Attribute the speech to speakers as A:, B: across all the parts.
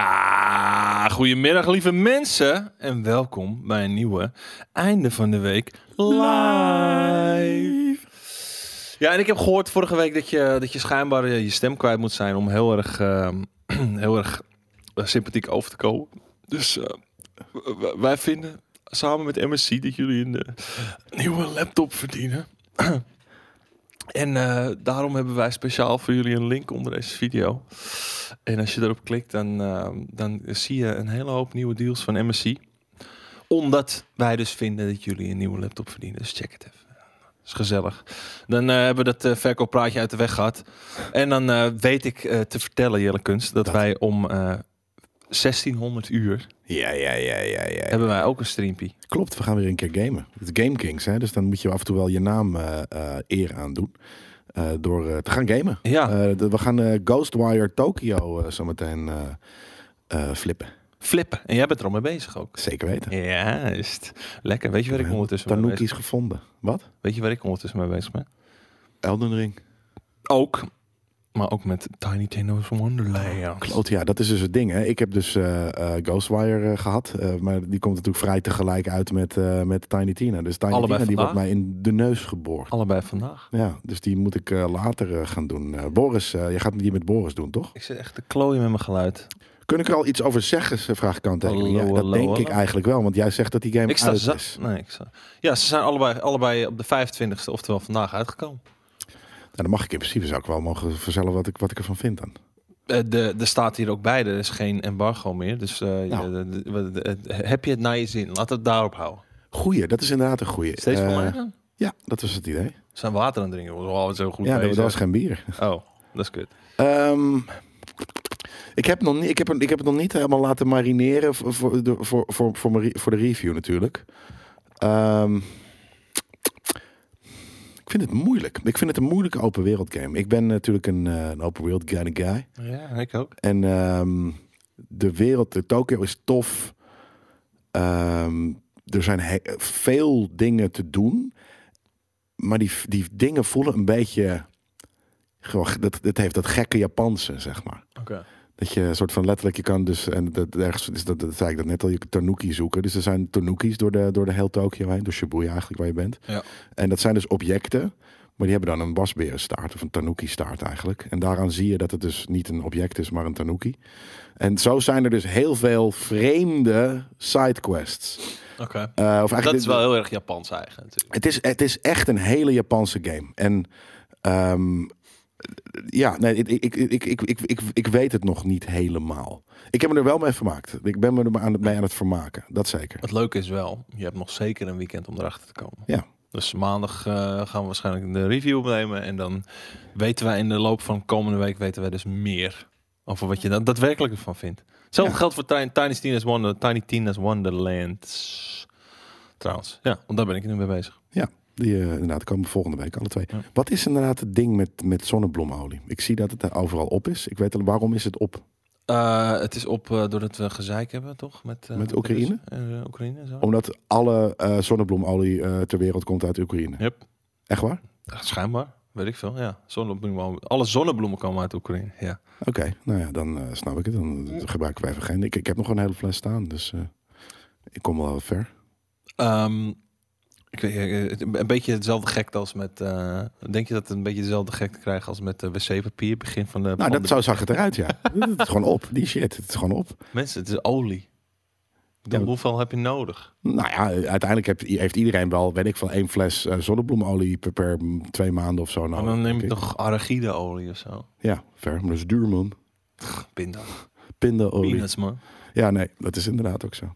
A: Ja, goedemiddag lieve mensen en welkom bij een nieuwe einde van de week live. Ja, en ik heb gehoord vorige week dat je, dat je schijnbaar eh, je stem kwijt moet zijn om heel erg, eh, heel erg eh, sympathiek over te komen. Dus eh, w- w- wij vinden samen met MSC dat jullie een eh, nieuwe laptop verdienen. En eh, daarom hebben wij speciaal voor jullie een link onder deze video. En als je erop klikt, dan, eh, dan zie je een hele hoop nieuwe deals van MSC. Omdat wij dus vinden dat jullie een nieuwe laptop verdienen. Dus check het even. is gezellig. Dan eh, hebben we dat eh, verkooppraatje uit de weg gehad. En dan eh, weet ik eh, te vertellen, Jelle Kunst, dat, wij om eh, 1600 uur
B: Ja, ja, ja, ja, ja.
A: hebben wij ook een streampie.
B: Klopt, we gaan weer een keer gamen. Het Game Kings, hè? dus dan moet je af en toe wel je naam eh, eh, eer aandoen. eh, door eh, te gaan gamen.
A: Ja,
B: Eh, de- we gaan eh, Ghostwire Tokyo eh, zometeen eh, eh, flippen.
A: flippen. En jij bent er al mee bezig ook.
B: Zeker weten.
A: Juist. Lekker. Weet je waar ik ondertussen mee
B: Tanuki
A: bezig
B: is gevonden. Wat?
A: Weet je waar ik ondertussen mee bezig ben?
B: Elden Ring.
A: Ook. Maar ook met Tiny Tino's Wonderland.
B: Kloot, ja, dat is dus het ding. Hè. Ik heb dus eh, eh, Ghostwire eh, gehad. eh, maar die komt natuurlijk vrij tegelijk uit met, eh, met Tiny Tina. Dus Tiny
A: Allebei
B: Tina die
A: vandaag?
B: wordt mij in de neus geboord.
A: Allebei vandaag.
B: Ja, dus die moet ik eh, later eh, gaan doen. Eh, Boris, eh, je gaat die met Boris doen, toch?
A: Ik zit echt te klooien met mijn geluid.
B: Kun ik er al iets over zeggen? Ze vraagt kanttekening.
A: Hallo,
B: Ja, dat
A: hallo,
B: denk
A: hallo.
B: ik eigenlijk wel, want jij zegt dat die game
A: Ik sta
B: uit
A: za-
B: is.
A: Nee, ik sta... Ja, ze zijn allebei, allebei op de 25e, oftewel vandaag uitgekomen.
B: Nou, dan mag ik in principe zou ik wel mogen vertellen wat ik, wat ik ervan vind dan.
A: Eh, de, er staat hier ook bij, er is geen embargo meer. Dus eh,
B: Nou.
A: je- de- de- de- de- heb je het naar je zin? Laat het daarop houden.
B: Goeie, dat is inderdaad een goeie.
A: Steeds
B: Eh,
A: voor mij dan?
B: Ja, dat was het idee.
A: Ze zijn water aan het drinken. Oh, wat zo goed
B: ja, dat,
A: bezig.
B: dat was geen bier.
A: Oh, dat is kut.
B: Ehm, ik, heb nog niet, ik, heb, ik heb het nog niet helemaal laten marineren voor, voor, de, voor, voor, voor, mijn re- voor de review natuurlijk. Ehm, ik vind het moeilijk. Ik vind het een moeilijke open wereld game. Ik ben natuurlijk een, eh, een open wereld guy. guy.
A: Ja, ik ook.
B: En ehm, de wereld, de Tokio is tof. Ehm, er zijn he- veel dingen te doen. Maar die, die dingen voelen een beetje. Gewoon, dat, dat heeft dat gekke Japanse, zeg maar.
A: Oké.
B: Dat je een soort van letterlijk, je kan dus, en dat, ergens, dus dat, dat zei ik dat net al, je tanuki zoeken. Dus er zijn tanukis door de, door de heel Tokio heen, door Shibuya eigenlijk waar je bent.
A: Ja.
B: En dat zijn dus objecten, maar die hebben dan een wasberenstaart of een tanuki staart eigenlijk. En daaraan zie je dat het dus niet een object is, maar een tanuki. En zo zijn er dus heel veel vreemde sidequests.
A: Oké.
B: Eh, of eigenlijk
A: Dat
B: dit-
A: is wel heel erg Japans eigen natuurlijk.
B: het is, het is echt een hele Japanse game. En ehm, ja, nee, ik, ik, ik, ik, ik, ik, ik weet het nog niet helemaal. Ik heb me er wel mee vermaakt. Ik ben me er maar aan het, mee aan het vermaken. Dat zeker.
A: Het leuke is wel, je hebt nog zeker een weekend om erachter te komen.
B: Ja.
A: Dus maandag eh, gaan we waarschijnlijk de review opnemen. En dan weten wij in de loop van komende week weten wij dus meer over wat je dan daadwerkelijk ervan vindt. Hetzelfde
B: Ja.
A: geldt voor Tiny, Tiny, Tina's Wonder, Tiny Tina's Wonderland. Trouwens, ja, want daar ben ik nu mee bezig.
B: Die eh, inderdaad komen volgende week, alle twee.
A: Ja.
B: Wat is inderdaad het ding met, met zonnebloemolie? Ik zie dat het daar overal op is. Ik weet al waarom is het op.
A: Eh, het is op eh, doordat we gezeik hebben, toch? Met, eh,
B: Met
A: de
B: Oekraïne? Oh.
A: Russen en, eh, Oekraïne en zo.
B: Omdat alle eh, zonnebloemolie eh, ter wereld komt uit Oekraïne.
A: Yep.
B: Echt waar?
A: Ja, Schijnbaar, weet ik veel. Ja, zonnebloemen. Alle zonnebloemen komen uit Oekraïne. Ja.
B: Oké, nou ja, dan eh, snap ik het. Dan gebruiken wij even geen. Ik, ik heb nog een hele fles staan, dus eh, ik kom wel ver.
A: Ehm, ik weet, eh, het- een beetje hetzelfde gekte als met. eh, denk je dat het een beetje dezelfde gekte krijgen als met eh, wc-papier? Begin van de.
B: Nou,
A: van
B: dat
A: de-
B: zo zag het eruit, ja. het is gewoon op, die shit. Het is gewoon op.
A: Mensen, het is olie. Ik bedoel,
B: Ja.
A: Hoeveel heb je nodig?
B: Nou ja, uiteindelijk heb- heeft iedereen wel, weet ik van één fles eh, zonnebloemolie per, per twee maanden of zo. Nou,
A: Maar dan neem
B: denk
A: je
B: ik.
A: toch arachideolie of zo?
B: Ja, ver, maar dat is duur, man.
A: Pinda.
B: Pindaolie.
A: Peanuts, man.
B: Ja, nee, dat is inderdaad ook zo.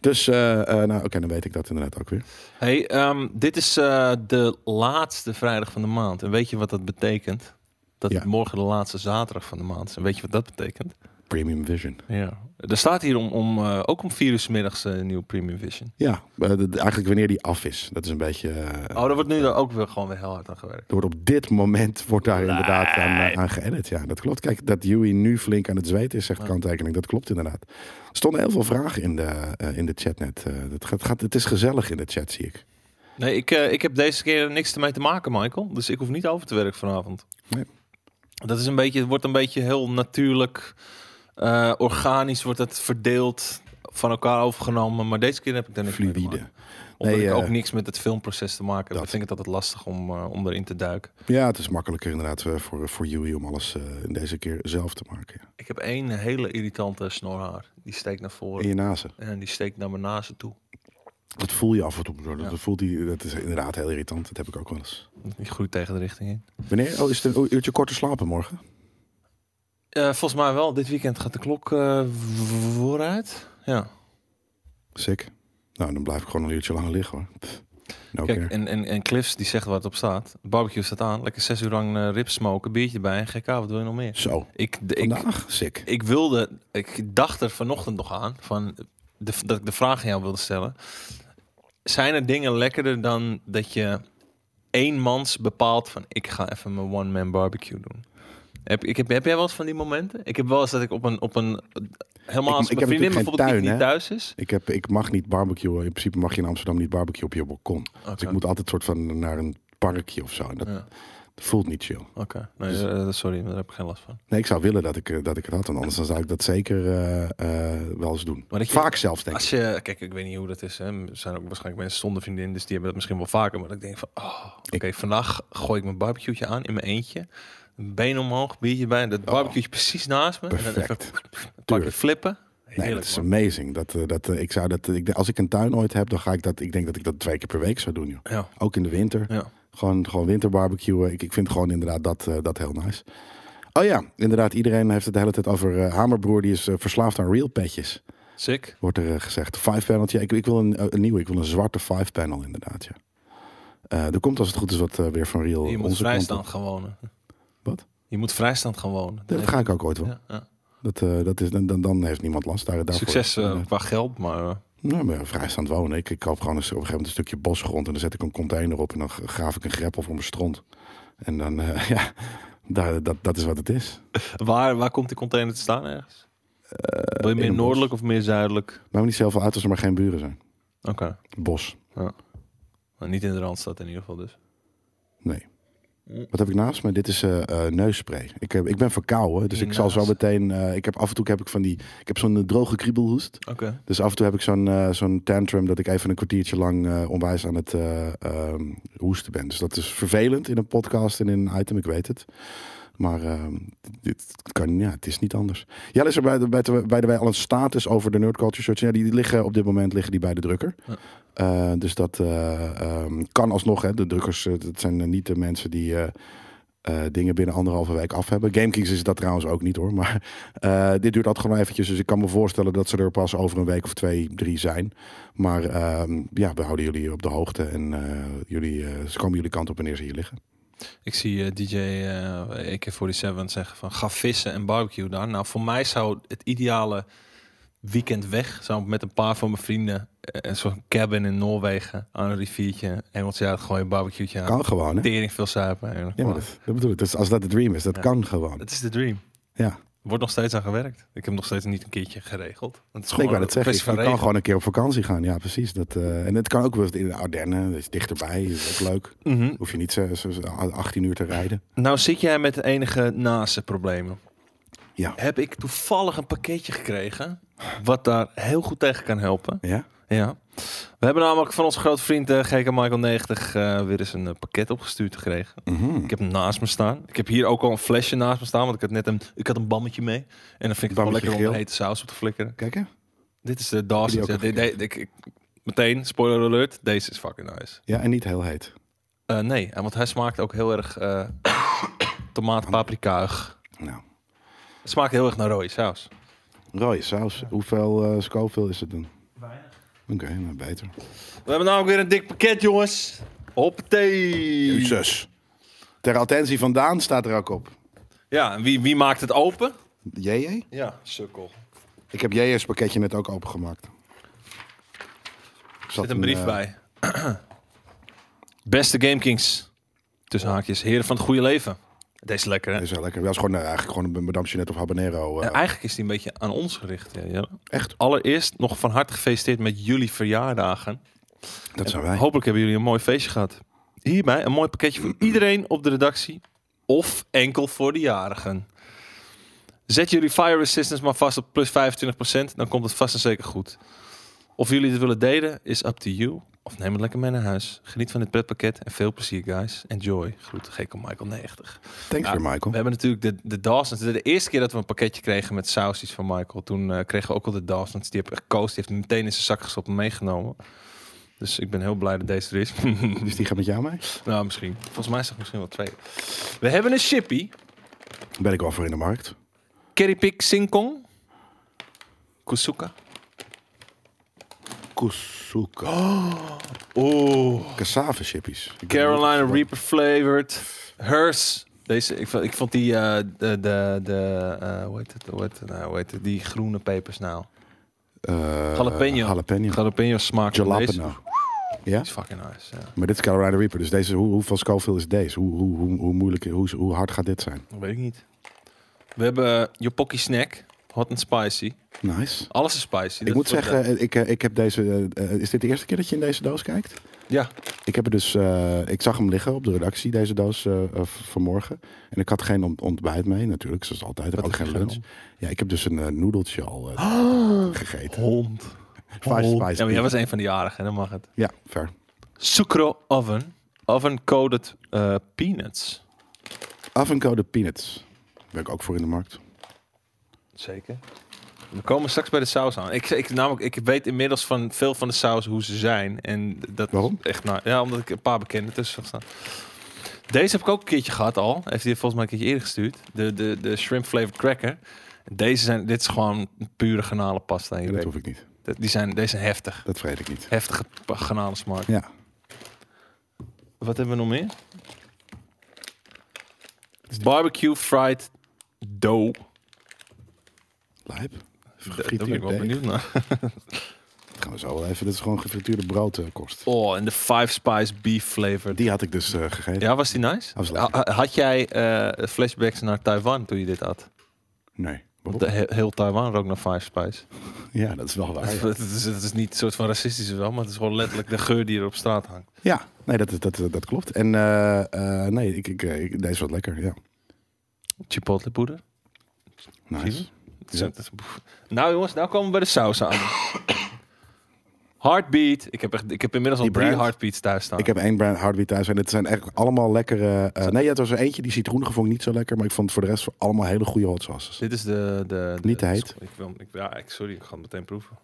B: Dus, eh, eh, nou oké, dan weet ik dat inderdaad ook weer.
A: Hey, ehm, dit is eh, de laatste vrijdag van de maand. En weet je wat dat betekent? Dat
B: Ja.
A: het morgen de laatste zaterdag van de maand is. En weet je wat dat betekent?
B: Premium Vision.
A: Ja. Er staat hier om, om, eh, ook om vier uur 's middags eh, een nieuwe Premium Vision.
B: Ja, eh, dat- eigenlijk wanneer die af is. Dat is een beetje... eh,
A: Oh, daar wordt nu dan ook weer gewoon weer heel hard aan gewerkt.
B: Er wordt op dit moment wordt daar inderdaad aan, eh, aan geëdit. Ja, dat klopt. Kijk, dat Yui nu flink aan het zweten is, zegt kanttekening. Dat klopt inderdaad. Er stonden heel veel vragen in de, eh, in de chat net. Eh, het, gaat, gaat, het is gezellig in de chat, zie ik.
A: Nee, ik, eh, ik heb deze keer niks ermee te maken, Michael. Dus ik hoef niet over te werken vanavond.
B: Nee.
A: Dat is een beetje, het wordt een beetje heel natuurlijk. eh, Eh, organisch wordt het verdeeld, van elkaar overgenomen. Maar deze keer heb ik daar niks mee te maken.
B: fluïde.
A: Omdat
B: Nee,
A: ik
B: eh,
A: ook niks met het filmproces te maken heb.
B: dat.
A: Dat vind ik het altijd lastig om, eh, om erin te duiken.
B: Ja, het is makkelijker inderdaad eh, voor, voor Yui om alles eh, in deze keer zelf te maken. ja.
A: Ik heb één hele irritante snorhaar. Die steekt naar voren.
B: In je nazen.
A: En die steekt naar mijn nazen toe.
B: Dat voel je af en toe. Dat,
A: Ja.
B: dat voelt die, dat is inderdaad heel irritant. Dat heb ik ook wel eens.
A: Die groeit tegen de richting in.
B: Wanneer? Oh, is het een uurtje korter slapen morgen?
A: Eh, volgens mij wel. Dit weekend gaat de klok eh, v- vooruit. Ja.
B: Sick. Nou, dan blijf ik gewoon een uurtje langer liggen hoor. Pff, No
A: Kijk,
B: care.
A: en, en, en Cliffs die zegt waar het op staat. Barbecue staat aan. Lekker zes uur lang eh rib smoken. Biertje bij. En gekka, wat wil je nog meer?
B: Zo,
A: eh, Ik, de, ik,
B: vandaag? Sick.
A: ik wilde... Ik dacht er vanochtend nog aan. Van de, dat ik de vraag aan jou wilde stellen. Zijn er dingen lekkerder dan dat je eenmans bepaalt van... Ik ga even mijn one-man barbecue doen. Heb, ik heb, heb jij wel eens van die momenten? Ik heb wel eens dat ik op een... Op een helemaal
B: Ik-
A: als
B: ik
A: mijn
B: heb
A: vriendin
B: natuurlijk geen
A: bijvoorbeeld
B: tuin,
A: niet
B: hè?
A: thuis is.
B: Ik, heb, ik mag niet barbecuen. In principe mag je in Amsterdam niet barbecuen op je balkon. Dus ik
A: Oké.
B: moet altijd soort van naar een parkje of zo. En dat,
A: Ja.
B: dat voelt niet chill.
A: Oké, nee,
B: Dus-
A: eh, sorry, daar heb ik geen last van.
B: Nee, ik zou willen dat ik, eh, dat ik het had. Want anders dan zou ik dat zeker eh, eh, wel eens doen.
A: Maar dat je-
B: Vaak zelfs denk ik.
A: Als je, kijk, ik weet niet hoe dat is. Hè. Er zijn ook waarschijnlijk mensen zonder vriendin, dus die hebben dat misschien wel vaker. Maar dat ik denk van, oh, oké, vandaag gooi ik mijn barbecue aan in mijn eentje. Been omhoog, biertje bij, dat barbecue precies naast me. En dan
B: Oh. Perfect.
A: even een pakje flippen. Ah,
B: Nee,
A: Heerlijk,
B: dat is
A: man.
B: amazing. Dat, eh, dat, eh, ik zou dat, ik, als ik een tuin ooit heb, dan ga ik dat. Ik denk dat ik dat twee keer per week zou doen. Joh.
A: Ja,
B: Ook in de winter.
A: ja.
B: Gewoon, gewoon winterbarbecuen. Ik, ik vind gewoon inderdaad dat, eh, dat heel nice. Oh ja, inderdaad. Iedereen heeft het de hele tijd over eh, Hamerbroer. Die is eh, verslaafd aan real petjes,
A: Sick.
B: wordt er eh, gezegd. Five paneltje. Ik, ik wil een, eh, een nieuwe. Ik wil een zwarte five panel inderdaad. Ja. Eh, er komt als het goed is wat eh, weer van real
A: Je moet
B: onze kant op.
A: vrijstaand gaan wonen.
B: Wat?
A: Je moet vrijstaand gaan wonen. Dan
B: Dat
A: heb
B: ga ik ook ooit
A: je-
B: wel.
A: ja, ja.
B: Dat, eh, dat is, dan, dan- dan heeft niemand last daar, daarvoor.
A: Succes eh,
B: Nee,
A: qua geld, maar eh,
B: Nou, maar vrijstaand wonen. Ik, ik koop gewoon een, op een gegeven moment een stukje bosgrond en dan zet ik een container op en dan graaf ik een greppel voor mijn stront. En dan, eh, ja, daar, dat, dat is wat het is.
A: waar, waar komt die container te staan ergens? Wil je
B: Eh, in
A: meer
B: een bos.
A: noordelijk of meer zuidelijk?
B: Maakt me niet zoveel uit als er maar geen buren zijn.
A: Oké.
B: Bos.
A: Maar niet in de Randstad in ieder geval dus.
B: Nee. Wat heb ik naast me? Dit is eh eh, neusspray. Ik, heb, ik ben verkouden, dus ik zal zo
A: Hiernaast.
B: meteen... eh, ik heb af en toe heb ik van die... Ik heb zo'n eh, droge kriebelhoest.
A: Oké.
B: Dus af en toe heb ik zo'n eh, zo'n tantrum dat ik even een kwartiertje lang eh, onwijs aan het eh, ehm, hoesten ben. Dus dat is vervelend in een podcast en in een item, ik weet het. Maar ehm, dit kan, ja, het is niet anders. Jij is er bij de, bij, de, bij de bij al een status over de Nerd Culture Search. Ja, die liggen op dit moment liggen die bij de drukker.
A: Ja.
B: Eh, dus dat eh, ehm, kan alsnog. Hè. De drukkers, eh, dat zijn eh, niet de mensen die eh, eh, dingen binnen anderhalve week af hebben. GameKings is dat trouwens ook niet hoor. Maar eh, dit duurt altijd gewoon eventjes. Dus ik kan me voorstellen dat ze er pas over een week of twee, drie zijn. Maar ehm, ja, we houden jullie op de hoogte. En eh, jullie, eh, ze komen jullie kant op wanneer ze hier liggen.
A: Ik zie eh, DJ eh, AK47 zeggen van ga vissen en barbecue daar. Nou, voor mij zou het ideale weekend weg zou met een paar van mijn vrienden eh, een soort cabin in Noorwegen aan een riviertje, Engelsjaar gewoon een barbecueetje aan.
B: Kan gewoon hè?
A: Tering veel suipen. en-
B: Ja, maar dat, dat bedoel ik. Dus als dat de dream is, dat
A: Ja.
B: kan gewoon.
A: Dat is de dream.
B: Ja,
A: Wordt nog steeds aan gewerkt. Ik heb nog steeds niet een keertje geregeld. Want het is
B: ik wou
A: gewoon
B: dat
A: een
B: zeggen. Je
A: kwestie van
B: kan
A: regelen.
B: gewoon een keer op vakantie gaan. Ja, precies. Dat, eh, en het kan ook wel in de Ardennen. Dat is dichterbij. is ook leuk.
A: Mhm.
B: Hoef je niet zo, zo- zo 18 uur te rijden.
A: Nou zit jij met de enige naaste problemen.
B: Ja.
A: Heb ik toevallig een pakketje gekregen wat daar heel goed tegen kan helpen.
B: Ja?
A: Ja. We hebben namelijk van onze grote vriend eh, GK Michael 90 eh, weer eens een eh, pakket opgestuurd gekregen.
B: Mhm.
A: Ik heb hem naast me staan. Ik heb hier ook al een flesje naast me staan, want ik had net een, ik had een bammetje mee. En dan vind ik het wel
B: Bammetje
A: lekker om
B: geel.
A: een hete saus op te flikkeren.
B: Kijk hè?
A: Dit is de Dawson's.
B: Die
A: Ja,
B: ook
A: dit- dit- ik- ik- meteen, spoiler alert, deze is fucking nice.
B: Ja, en niet heel heet.
A: Eh, nee, en want hij smaakt ook heel erg eh tomaat paprikaig.
B: Nou,
A: Het smaakt heel erg naar rode saus.
B: rode saus. Hoeveel eh Scoville is het dan? Weinig. Oké, nou beter.
A: We hebben namelijk weer een dik pakket, jongens. Hoppatee.
B: Jezus. Ter attentie vandaan staat er ook op.
A: Ja, en wie, wie maakt het open?
B: JJ?
A: Ja, sukkel.
B: Ik heb JJ's pakketje net ook opengemaakt. Eh, Er
A: Er zit een brief bij. Beste GameKings. Tussen haakjes, heren van het goede leven. Deze is lekker, hè?
B: Dat is wel lekker. Dat is gewoon, eh, eigenlijk gewoon een madame Jeanette of habanero. eh,
A: En eigenlijk is die een beetje aan ons gericht. Ja, Jelle.
B: Echt?
A: Allereerst nog van harte gefeliciteerd met jullie verjaardagen.
B: dat zijn wij.
A: Hopelijk hebben jullie een mooi feestje gehad. Hierbij een mooi pakketje voor iedereen op de redactie. Of enkel voor de jarigen. Zet jullie fire resistance maar vast op plus 25%. Dan komt het vast en zeker goed. Of jullie het willen delen, is up to you. Of neem het lekker mee naar huis. Geniet van dit pretpakket en veel plezier, guys. Enjoy. Groeten, Gekko Michael 90.
B: Thanks
A: Ja.
B: weer,
A: We
B: Michael.
A: hebben natuurlijk de, de Dawsons. De, de eerste keer dat we een pakketje kregen met sausjes van Michael, toen eh, kregen we ook al de Dawsons. Die heb ik gekozen. Die heeft hem meteen in zijn zak gestopt en meegenomen. Dus ik ben heel blij dat deze er is.
B: Dus die gaat met jou mee?
A: nou, misschien. Volgens mij is er misschien wel twee. We hebben een shippie.
B: Ben ik wel voor in de markt.
A: Kerrypik Singkong. Kusuka.
B: Kusuka.
A: Oh. Oeh.
B: Cassave chippies. Ik ben
A: Carolina
B: wel-
A: Reaper flavored. Hers. Deze, ik, vond- ik vond die, eh, de, de, de eh, hoe heet het, hoe heet het, nou, hoe heet het, die groene pepers nou.
B: Eh,
A: Jalapeno.
B: Jalapeno.
A: Jalapeno smaak. van deze.
B: Jalapeno. Ja?
A: Die is fucking nice, ja.
B: Maar dit is Carolina Reaper. Dus deze, hoe, hoeveel Scoville is deze? Hoe, hoe, hoe, hoe moeilijk, hoe, hoe hard gaat dit zijn?
A: Dat weet ik niet. We hebben eh, Jopokki Snack, hot and spicy.
B: Nice.
A: Alles is spicy. dus
B: Ik
A: dat
B: moet
A: wordt,
B: zeggen, eh, ik, eh, ik heb deze. eh, eh, is dit de eerste keer dat je in deze doos kijkt?
A: eh, ja,
B: Ik heb er dus. eh, ik zag hem liggen op de redactie, deze doos eh, eh, v- vanmorgen. En ik had geen ont- ontbijt mee, natuurlijk, zoals altijd.
A: Wat
B: ook
A: heb je
B: geen lunch.
A: gedaan?
B: Ja, ik heb dus een eh, noedeltje al eh,
A: Oh!
B: gegeten.
A: hond.
B: Spicy,
A: Hond.
B: spicy.
A: Ja, maar jij was een van de jarigen, dan mag het.
B: Ja, ver.
A: Sucro oven. Oven coated eh, peanuts.
B: Avenco de peanuts. Ben ik ook voor in de markt.
A: Zeker. We komen straks bij de saus aan. Ik, ik, namelijk, ik weet inmiddels van veel van de saus hoe ze zijn. En dat
B: Waarom?
A: Is echt, nou, ja, omdat ik een paar bekende tussen zag staan. Deze heb ik ook een keertje gehad al. Heeft hij volgens mij een keertje eerder gestuurd. De, de, de shrimp flavored cracker. Deze zijn, dit is gewoon pure garnalenpasta. En je
B: Ja, dat
A: weet-
B: hoef ik niet.
A: dat- Die zijn, deze zijn heftig.
B: Dat vreet ik niet.
A: Heftige p- garnalensmaak.
B: Ja.
A: Wat hebben we nog meer? Barbecue fried dough.
B: Lijp.
A: Daar ben ik
B: Gefrituurde
A: wel
B: deeg.
A: benieuwd naar.
B: Dat gaan we zo wel even. Dat is gewoon gefrituurde brood eh, kost.
A: Oh, en de five spice beef flavored.
B: Die had ik dus eh, gegeten.
A: Ja, was die nice?
B: was lekker.
A: Ha- Had jij eh, flashbacks naar Taiwan toen je dit had?
B: Nee.
A: Want
B: Waarom?
A: de, he- heel Taiwan rook naar Five Spice.
B: Ja, dat is wel waar. ja.
A: het, is, het is niet een soort van racistisch wel, maar het is gewoon letterlijk de geur die er op straat hangt.
B: Ja, nee, dat, dat, dat, dat klopt. En eh, eh, nee, ik, ik, ik- deze was lekker, ja.
A: Chipotle poeder.
B: Nice.
A: Zie Het is-
B: Ja.
A: het is- boef. Nou jongens, nou komen we bij de saus aan. Heartbeat. Ik heb, echt, ik heb inmiddels al
B: Die
A: drie
B: brand.
A: heartbeats thuis staan.
B: Ik heb één brand hardwit thuis en het zijn echt allemaal lekkere... eh nee, ja, het was er eentje, die citroenige vond ik niet zo lekker. Maar ik vond voor de rest allemaal hele goede hot sauces.
A: Dit is de... de, de-
B: Niet te heet.
A: Ik wil, ik, ja, ik, sorry, ik ga het meteen proeven.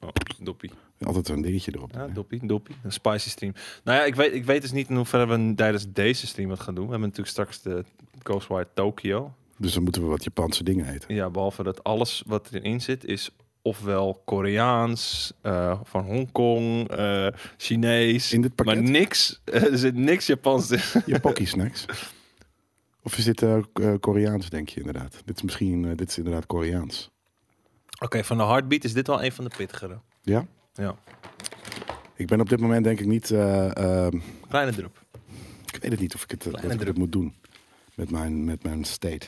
A: Oh, doppie.
B: Altijd een dingetje erop.
A: Ja, doppie, doppie. Een spicy stream. Nou ja, ik weet, ik weet dus niet in hoeverre we tijdens deze stream wat gaan doen. We hebben natuurlijk straks de Coast Wire Tokyo.
B: Dus dan moeten we wat Japanse dingen eten.
A: Ja, behalve dat alles wat erin zit is ofwel Koreaans, eh, van Hongkong, eh, Chinees.
B: In dit
A: maar
B: pakket,
A: niks, er zit niks Japans in.
B: je pocky snacks. Of is dit eh, K- eh, Koreaans, denk je inderdaad? Dit is misschien, eh, dit is inderdaad Koreaans.
A: Oké, van de Heartbeat is dit wel een van de pittigere.
B: Ja?
A: Ja,
B: Ik ben op dit moment denk ik niet... eh, eh,
A: kleine drup.
B: Ik weet het niet of ik het, eh, dat
A: Kleine
B: ik
A: druk.
B: het moet doen met mijn, met mijn state.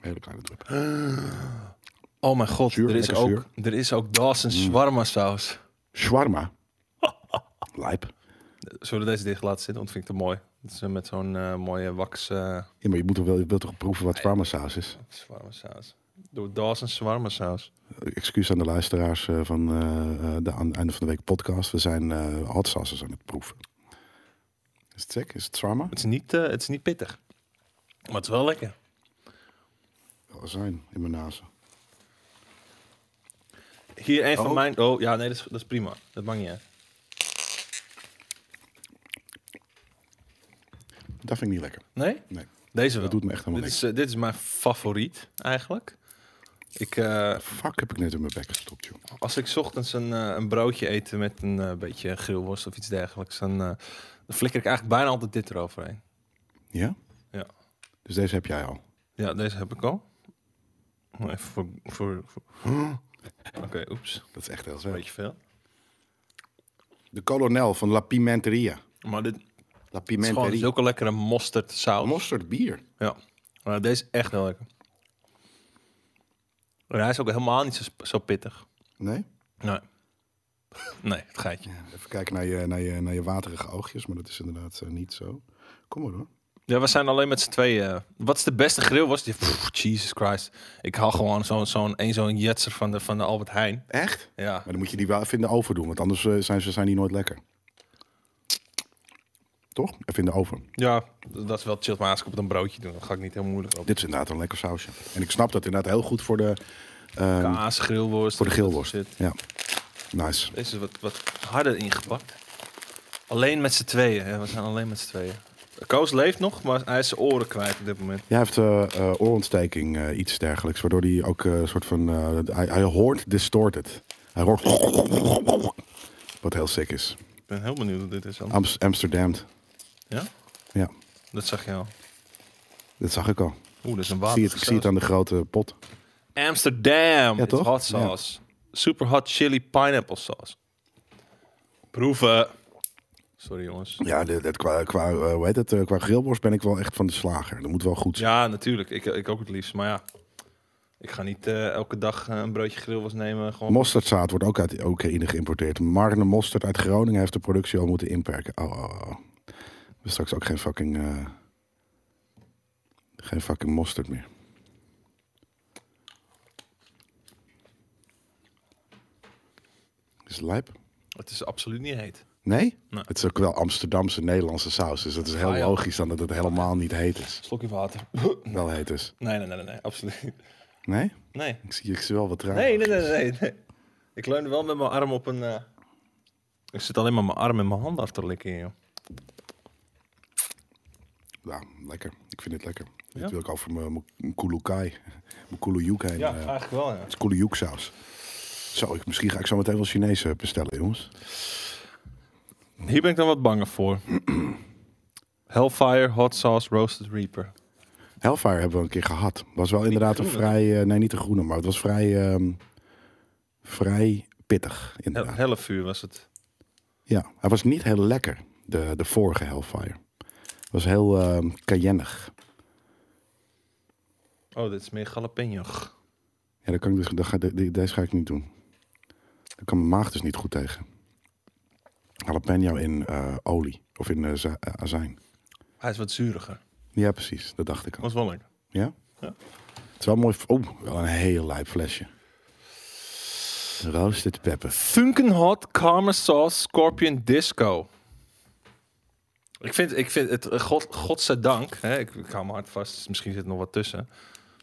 B: Hele kleine drup.
A: Oh mijn god,
B: Zuur,
A: er, is
B: lekker
A: ook,
B: zuur.
A: er is ook Dawson's shawarma saus.
B: Shawarma. Lijp.
A: Zullen we deze dicht laten zitten? Want vind ik te mooi. Het is eh, met zo'n eh, mooie wax... eh,
B: Ja, maar je moet toch wel, je wilt toch proeven wat shawarma saus is?
A: Zwarme saus. Door Dawson's zwarme saus.
B: Excuus aan de luisteraars eh, van eh, eh, de aan, einde van de week podcast. We zijn eh hot sauces aan het proeven. Is het sick? Is het shawarma?
A: Het is niet, eh, het is niet pittig. Maar het is wel lekker.
B: Wel zijn in mijn nazen.
A: Hier een van
B: Oh.
A: mijn... Oh, ja, nee, dat is, dat is prima. Dat mag niet, hè?
B: Dat vind ik niet lekker.
A: Nee?
B: Nee,
A: Deze wel.
B: dat doet me echt helemaal
A: dit,
B: niks.
A: is, eh, dit is mijn favoriet, eigenlijk. Ik, eh,
B: Fuck, heb ik net in mijn bek gestopt, joh.
A: als ik 's ochtends een, eh, een broodje eet met een eh, beetje grillworst of iets dergelijks... Dan, eh, dan flikker ik eigenlijk bijna altijd dit eroverheen.
B: Ja?
A: Ja.
B: Dus deze heb jij al.
A: Ja, deze heb ik al. Maar Even voor... voor, voor... Oké, oeps.
B: Dat is echt heel
A: Een
B: zwaar.
A: beetje veel.
B: De kolonel van La Pimenteria.
A: Maar dit
B: La
A: is gewoon
B: Pimenteria.
A: zulke lekkere mosterd saus.
B: Mosterdbier.
A: Ja, maar deze is echt heel lekker. En hij is ook helemaal niet zo, sp- zo pittig.
B: Nee?
A: Nee. Nee, het geitje.
B: Even kijken naar je, naar, je, naar je waterige oogjes, maar dat is inderdaad eh, niet zo. Kom maar hoor.
A: Ja, we zijn alleen met z'n tweeën. wat is de beste grill? Was die? Pff, Jesus Christ. Ik haal gewoon zo'n zo'n een zo'n jetser van de, van de Albert Heijn.
B: Echt?
A: Ja.
B: Maar dan moet je die wel even in de oven doen, want anders eh, zijn, ze, zijn die nooit lekker. Toch? Even in de oven.
A: ja, dat is wel chill. Maar als ik op een broodje doe, dan ga ik niet heel moeilijk op.
B: Dit is inderdaad een lekker sausje. En ik snap dat inderdaad heel goed voor de, ehm,
A: Kaas, grillworst.
B: voor de
A: dat soort
B: geelworst.
A: shit.
B: Ja. Nice.
A: Deze is wat, wat harder ingepakt. Alleen met z'n tweeën. Hè? We zijn alleen met z'n tweeën. Koos leeft nog, maar hij is zijn oren kwijt op dit moment.
B: Jij heeft eh, eh, oorontsteking, eh, iets dergelijks, waardoor hij ook eh, een soort van... eh, hij, hij hoort distorted. Hij hoort... Wat heel sick is.
A: Ik ben heel benieuwd hoe dit is. Dan.
B: Amst- Amsterdam.
A: Ja?
B: Ja,
A: Dat zag je al.
B: dat zag ik al.
A: Oeh, dat is een
B: Ik
A: water.
B: zie, het, ik zie het aan de grote pot.
A: Amsterdam.
B: Ja,
A: It's
B: toch?
A: Hot sauce. Super hot chili pineapple sauce. Proeven. Sorry jongens.
B: Ja, dit, dit qua, qua, eh, hoe heet het, eh, qua grillworst ben ik wel echt van de slager. Dat moet wel goed zijn.
A: Ja, natuurlijk. Ik, ik ook het liefst. Maar ja, ik ga niet eh, elke dag eh, een broodje grillwas nemen. Gewoon.
B: Mosterdzaad wordt ook uit Oekraïne geïmporteerd. Marne Mosterd uit Groningen heeft de productie al moeten inperken. Oh, oh, oh. We hebben straks ook geen fucking... eh, geen fucking mosterd meer. Is het lijp?
A: Het is absoluut niet heet.
B: Nee?
A: Nee.
B: Het is ook wel Amsterdamse Nederlandse saus. Dus dat is heel
A: Ah, ja.
B: logisch dan dat het helemaal niet heet is.
A: Slokje water.
B: Wel heet is.
A: Nee, nee, nee, nee, nee. Absoluut niet.
B: Nee?
A: Nee.
B: Ik zie, ik zie wel wat raar.
A: Nee, nee, nee, nee, nee. Ik leunde wel met mijn arm op een... eh, Ik zit alleen maar mijn arm en mijn hand af te likken, joh.
B: Ja, lekker. Ik vind het lekker.
A: Ja?
B: Dit wil ik over mijn mijn kulukai. Mijn kulujuk heen.
A: Ja,
B: eh,
A: eigenlijk wel, ja.
B: het is kulujuk saus. Zo, ik, misschien ga ik zo meteen wel Chinees eh, bestellen, jongens.
A: Hier ben ik dan wat banger voor. Hellfire Hot Sauce Roasted Reaper.
B: Hellfire hebben we een keer gehad. Was wel inderdaad een
A: groene.
B: vrij... eh, nee, niet de groene, maar het was vrij... ehm, vrij pittig,
A: Helle,
B: inderdaad.
A: hellevuur was het.
B: Ja, hij was niet heel lekker, de, de vorige Hellfire. was heel ehm cayennig.
A: Oh, dit is meer jalapeno.
B: Ja, dat kan ik dus, dat ga, de- die- deze ga ik niet doen. Daar kan mijn maag dus niet goed tegen. Jalapeno in eh, olie of in eh, za- eh, azijn.
A: Hij is wat zuuriger.
B: Ja, precies. Dat dacht ik al.
A: Was wel lekker.
B: Ja?
A: Oh. Ja.
B: Het is wel mooi. Oh, wel een heel lijp flesje. Roasted pepper.
A: Funken Hot Karma Sauce Scorpion Disco. Ik vind, ik vind het, eh, god, godzijdank, hè, ik, ik hou me hard vast, misschien zit er nog wat tussen.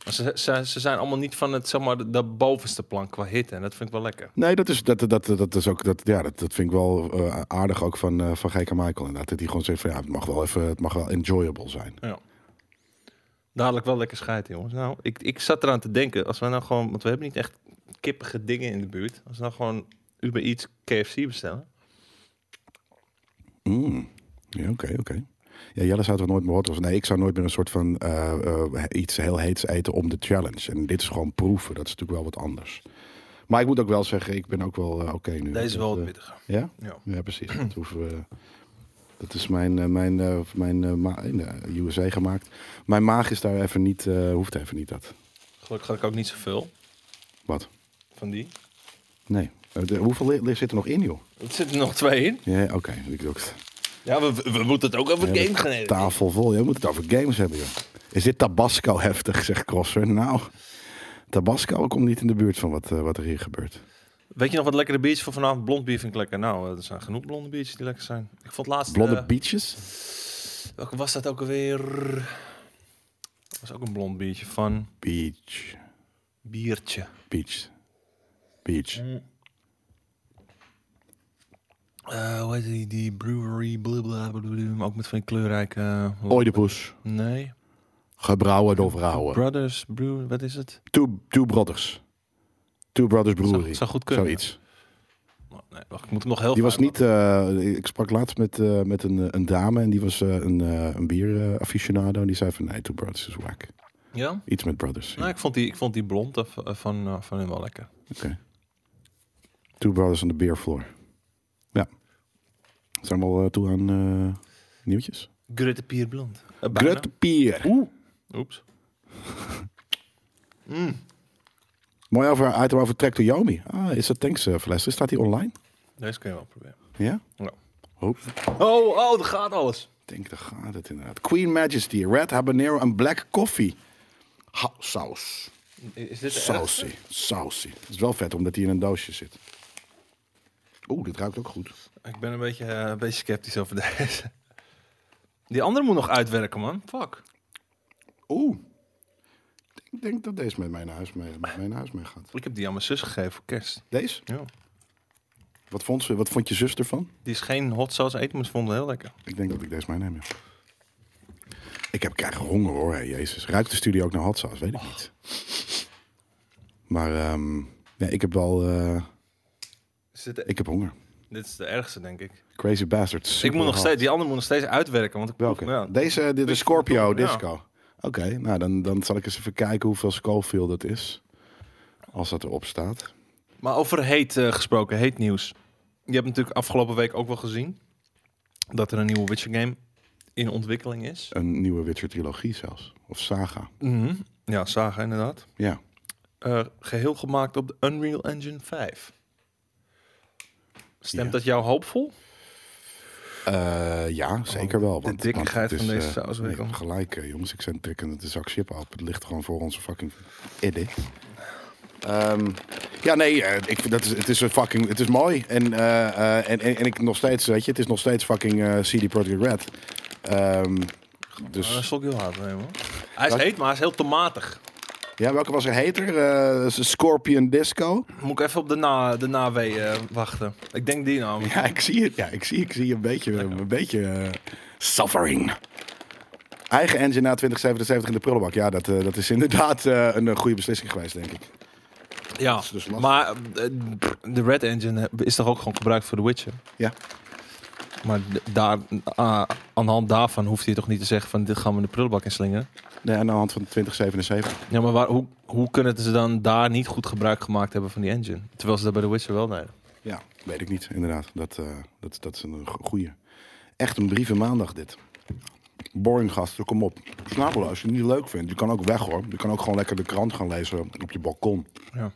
A: Maar ze, ze, ze zijn allemaal niet van het, zeg maar, de, de bovenste plank qua hitte. En dat vind ik wel lekker.
B: Nee, dat is, dat, dat, dat is ook. Dat, ja, dat, dat vind ik wel eh, aardig ook van, eh van Gekke Michael. Inderdaad. Dat hij gewoon zegt van ja, het mag wel even. Het mag wel enjoyable zijn.
A: Ja. Dadelijk wel lekker scheiden, jongens. Nou, ik, ik zat eraan te denken, als we nou gewoon, want we hebben niet echt kippige dingen in de buurt. Als we nou gewoon Uber Eats KFC bestellen.
B: Mm. Ja, oké, oké. Ja, Jelle zou het wel nooit meer horen. Nee, ik zou nooit meer een soort van eh, eh, iets heel heets eten om de challenge. En dit is gewoon proeven. Dat is natuurlijk wel wat anders. Maar ik moet ook wel zeggen, ik ben ook wel eh, oké nu.
A: Deze is wel
B: Dat,
A: wat
B: eh,
A: pittiger.
B: ja?
A: Ja.
B: ja, precies. Dat, hoeven we, dat is mijn, eh, mijn, eh, mijn eh, ma- in de USA gemaakt. Mijn maag is daar even niet, eh, hoeft even niet dat.
A: Gelukkig had ik ook niet zoveel
B: Wat?
A: van die.
B: Nee. Eh, de- hoeveel li- li- zit er nog in, joh?
A: Er zitten er nog twee in.
B: Ja, oké. Ik- ik-
A: Ja, we, we moeten het ook over
B: Ja,
A: game
B: de
A: gaan hebben.
B: Tafel vol. Je moet het over games hebben, joh. Is dit Tabasco heftig, zegt Crosser. Nou, Tabasco komt niet in de buurt van wat, eh, wat er hier gebeurt.
A: Weet je nog wat lekkere biertjes voor vanavond? Blond bier vind ik lekker. Nou, eh, er zijn genoeg blonde biertjes die lekker zijn. Ik vond laatst...
B: Blonde
A: eh,
B: beaches?
A: welke was dat ook alweer? Dat was ook een blond biertje van...
B: Beach.
A: Biertje.
B: Beach. Beach.
A: Eh, hoe heet die? Die brewery, blablabla. Ook met van die kleurrijke... eh,
B: Oedipus.
A: nee.
B: Gebrouwen door vrouwen.
A: Brothers Brew, wat is het?
B: Two, two Brothers. Two Brothers Brewery.
A: Zou, zou goed kunnen.
B: Zoiets.
A: Oh, Nee, wacht, ik moet hem nog heel
B: Die
A: vaak-
B: was niet. eh, ik sprak laatst met, eh, met een, eh, een dame en die was eh, een, eh, een bier-aficionado. en die zei van nee, Two Brothers is whack.
A: Ja?
B: Iets met brothers.
A: Nou, ik vond die, ik vond die blond eh, van, eh, van, eh, van hem wel lekker.
B: Two Brothers on the Beer Floor. Ja. Zijn we al eh, toe aan eh, nieuwtjes?
A: Grutte Pier Blond. Eh, bijna.
B: Grutte Pier.
A: Oeps.
B: Mooi over, item over Trek to Yomi. Ah, is dat thanks eh Flessen? Staat die online?
A: Deze kun je wel proberen.
B: Ja?
A: Ja.
B: Hoop.
A: Oh, oh, er gaat alles.
B: Ik denk, daar gaat het inderdaad. Queen Majesty, Red Habanero en Black Coffee. Ha, saus.
A: Is dit
B: Saucy. Saucy. Het is wel vet omdat hij in een doosje zit. Oeh, dit ruikt ook goed.
A: Ik ben een beetje, eh, een beetje sceptisch over deze. Die andere moet nog uitwerken, man. Fuck.
B: Oeh. Ik denk dat deze met mijn huis mee, met mijn huis mee gaat.
A: Ik heb die aan mijn zus gegeven voor kerst.
B: Deze?
A: Ja.
B: Wat vond, ze, wat vond je zus ervan?
A: Die is geen hot sauce eten, maar ze vond het heel lekker.
B: Ik denk dat ik deze meeneem, ja. Ik heb krijg honger hoor, hé, jezus. Ruikt de studio ook naar hot sauce? Weet ik niet. Maar ehm, nee, ik heb wel... eh,
A: Is dit,
B: ik heb honger.
A: dit is de ergste, denk ik.
B: Crazy Bastard.
A: ik
B: super
A: moet nog
B: hot.
A: steeds, die andere moet nog steeds uitwerken. Want ik proef
B: Welke?
A: hem, ja.
B: Deze, eh, dit
A: Big
B: is Scorpio
A: Fun Tour,
B: Disco. Oké, nou dan, dan zal ik eens even kijken hoeveel Schofield het is. Als dat erop staat.
A: Maar over heet eh, gesproken, heet nieuws. Je hebt natuurlijk afgelopen week ook wel gezien dat er een nieuwe Witcher game in ontwikkeling is.
B: Een nieuwe Witcher trilogie zelfs. Of saga.
A: Mhm. Ja, Saga inderdaad.
B: Ja.
A: Eh, geheel gemaakt op de Unreal Engine 5. Stemt
B: Ja.
A: dat jou hoopvol?
B: Eh, ja, zeker wel. Want,
A: Oh, de dikkigheid
B: want het
A: van
B: is,
A: deze
B: eh,
A: saus
B: nee,
A: weer, hoor.
B: gelijk, eh, jongens. Ik zet trekken het zak chip op. Het ligt gewoon voor onze fucking eddy. Ehm, ja, nee, eh, ik, vind dat is, het is een fucking, het is mooi. En, eh, eh, en, en, en ik nog steeds, weet je, het is nog steeds fucking eh, CD Projekt Red. Ehm,
A: Maar
B: dus,
A: Dat is ook heel hard, nee, man. Hij is
B: Wat?
A: heet, maar hij is heel tomatig.
B: Ja, welke was er heter? Eh, Scorpion Disco.
A: Moet ik even op de, na, de nawee eh, wachten. Ik denk die nou.
B: Ja, ik zie het. Ja, ik zie, ik zie een beetje, een beetje eh, suffering. Eigen engine na 2077 in de prullenbak. Ja, dat, eh, dat is inderdaad eh, een eh, goede beslissing geweest, denk ik.
A: Ja,
B: is dus lastig.
A: maar eh, de Red Engine eh, is toch ook gewoon gebruikt voor The Witcher?
B: Ja.
A: Maar d- daar, ah, aan de hand daarvan hoeft hij toch niet te zeggen van dit gaan we in de prullenbak inslingen.
B: Nee, aan de hand van 2077.
A: Ja, maar waar, hoe, hoe kunnen ze dan daar niet goed gebruik gemaakt hebben van die engine? Terwijl ze dat bij The Witcher wel deden.
B: Ja, weet ik niet, inderdaad. Dat, eh, dat, dat is een go- goeie. Echt een brieven maandag, dit. Boring gasten, kom op. Snabelen, als je het niet leuk vindt. Je kan ook weg, hoor. Je kan ook gewoon lekker de krant gaan lezen op je balkon.
A: Ja.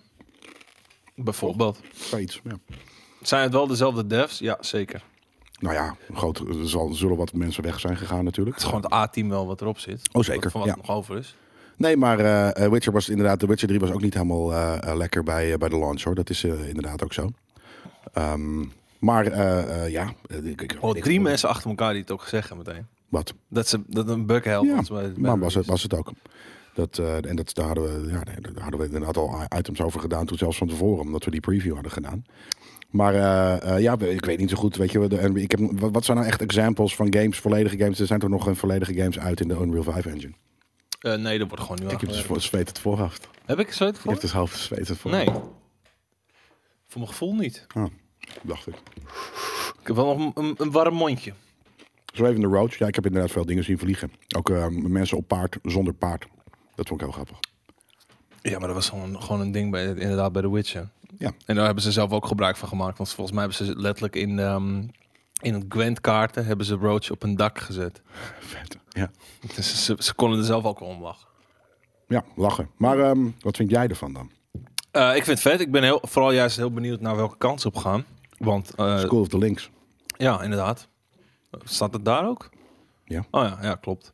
A: Bijvoorbeeld.
B: Zoiets, ja.
A: Zijn het wel dezelfde devs? Ja, zeker.
B: Nou ja, groot, er zal, zullen wat mensen weg zijn gegaan natuurlijk.
A: Het is gewoon het A-team wel wat erop zit.
B: Oh, zeker,
A: Van wat
B: ja.
A: er nog over is.
B: Nee, maar eh, eh, Witcher was inderdaad, de Witcher 3 was ook niet helemaal eh, eh, lekker bij, eh, bij de launch hoor. Dat is eh, inderdaad ook zo. Ehm, maar eh, eh, ja, eh, ik- ik-
A: Oh,
B: ik-
A: drie mensen achter elkaar die het ook zeggen meteen.
B: Wat?
A: Dat, ze, dat een bug helpt.
B: Ja,
A: als wij-
B: maar was het, was het ook. Dat, eh, en dat, daar, hadden we, ja, nee, daar hadden we inderdaad al items over gedaan, toen zelfs van tevoren, omdat we die preview hadden gedaan. Maar eh, eh, ja, ik weet niet zo goed, weet je, de- en ik heb, wat, wat zijn nou echt examples van games, volledige games? Er zijn toch nog geen volledige games uit in de Unreal 5 engine?
A: Eh, nee, dat wordt gewoon nu
B: Ik heb dus
A: aangewerkt.
B: voor, zweet het voorhoofd.
A: Heb ik zo het
B: Ik heb
A: voor?
B: dus half zweet het
A: Nee.
B: voorhoofd.
A: Voor mijn gevoel niet.
B: Ah, dacht ik.
A: Ik heb wel nog een, een warm mondje.
B: Zo even de road. Ja, ik heb inderdaad veel dingen zien vliegen. Ook eh, mensen op paard, zonder paard. Dat vond ik heel grappig.
A: Ja, maar dat was gewoon, gewoon een ding bij, inderdaad bij The Witcher.
B: Ja.
A: En daar hebben ze zelf ook gebruik van gemaakt. Want volgens mij hebben ze letterlijk in, ehm, in het Gwent-kaarten... hebben ze Roach op een dak gezet.
B: Vet. Ja.
A: Dus ze, ze konden er zelf ook om lachen.
B: ja, lachen. Maar ehm, wat vind jij ervan dan?
A: Eh, ik vind het vet. Ik ben heel, vooral juist heel benieuwd naar welke kant ze op gaan. Want eh,
B: School of the Links.
A: Ja, inderdaad. Staat het daar ook?
B: Ja.
A: Oh ja, ja, klopt.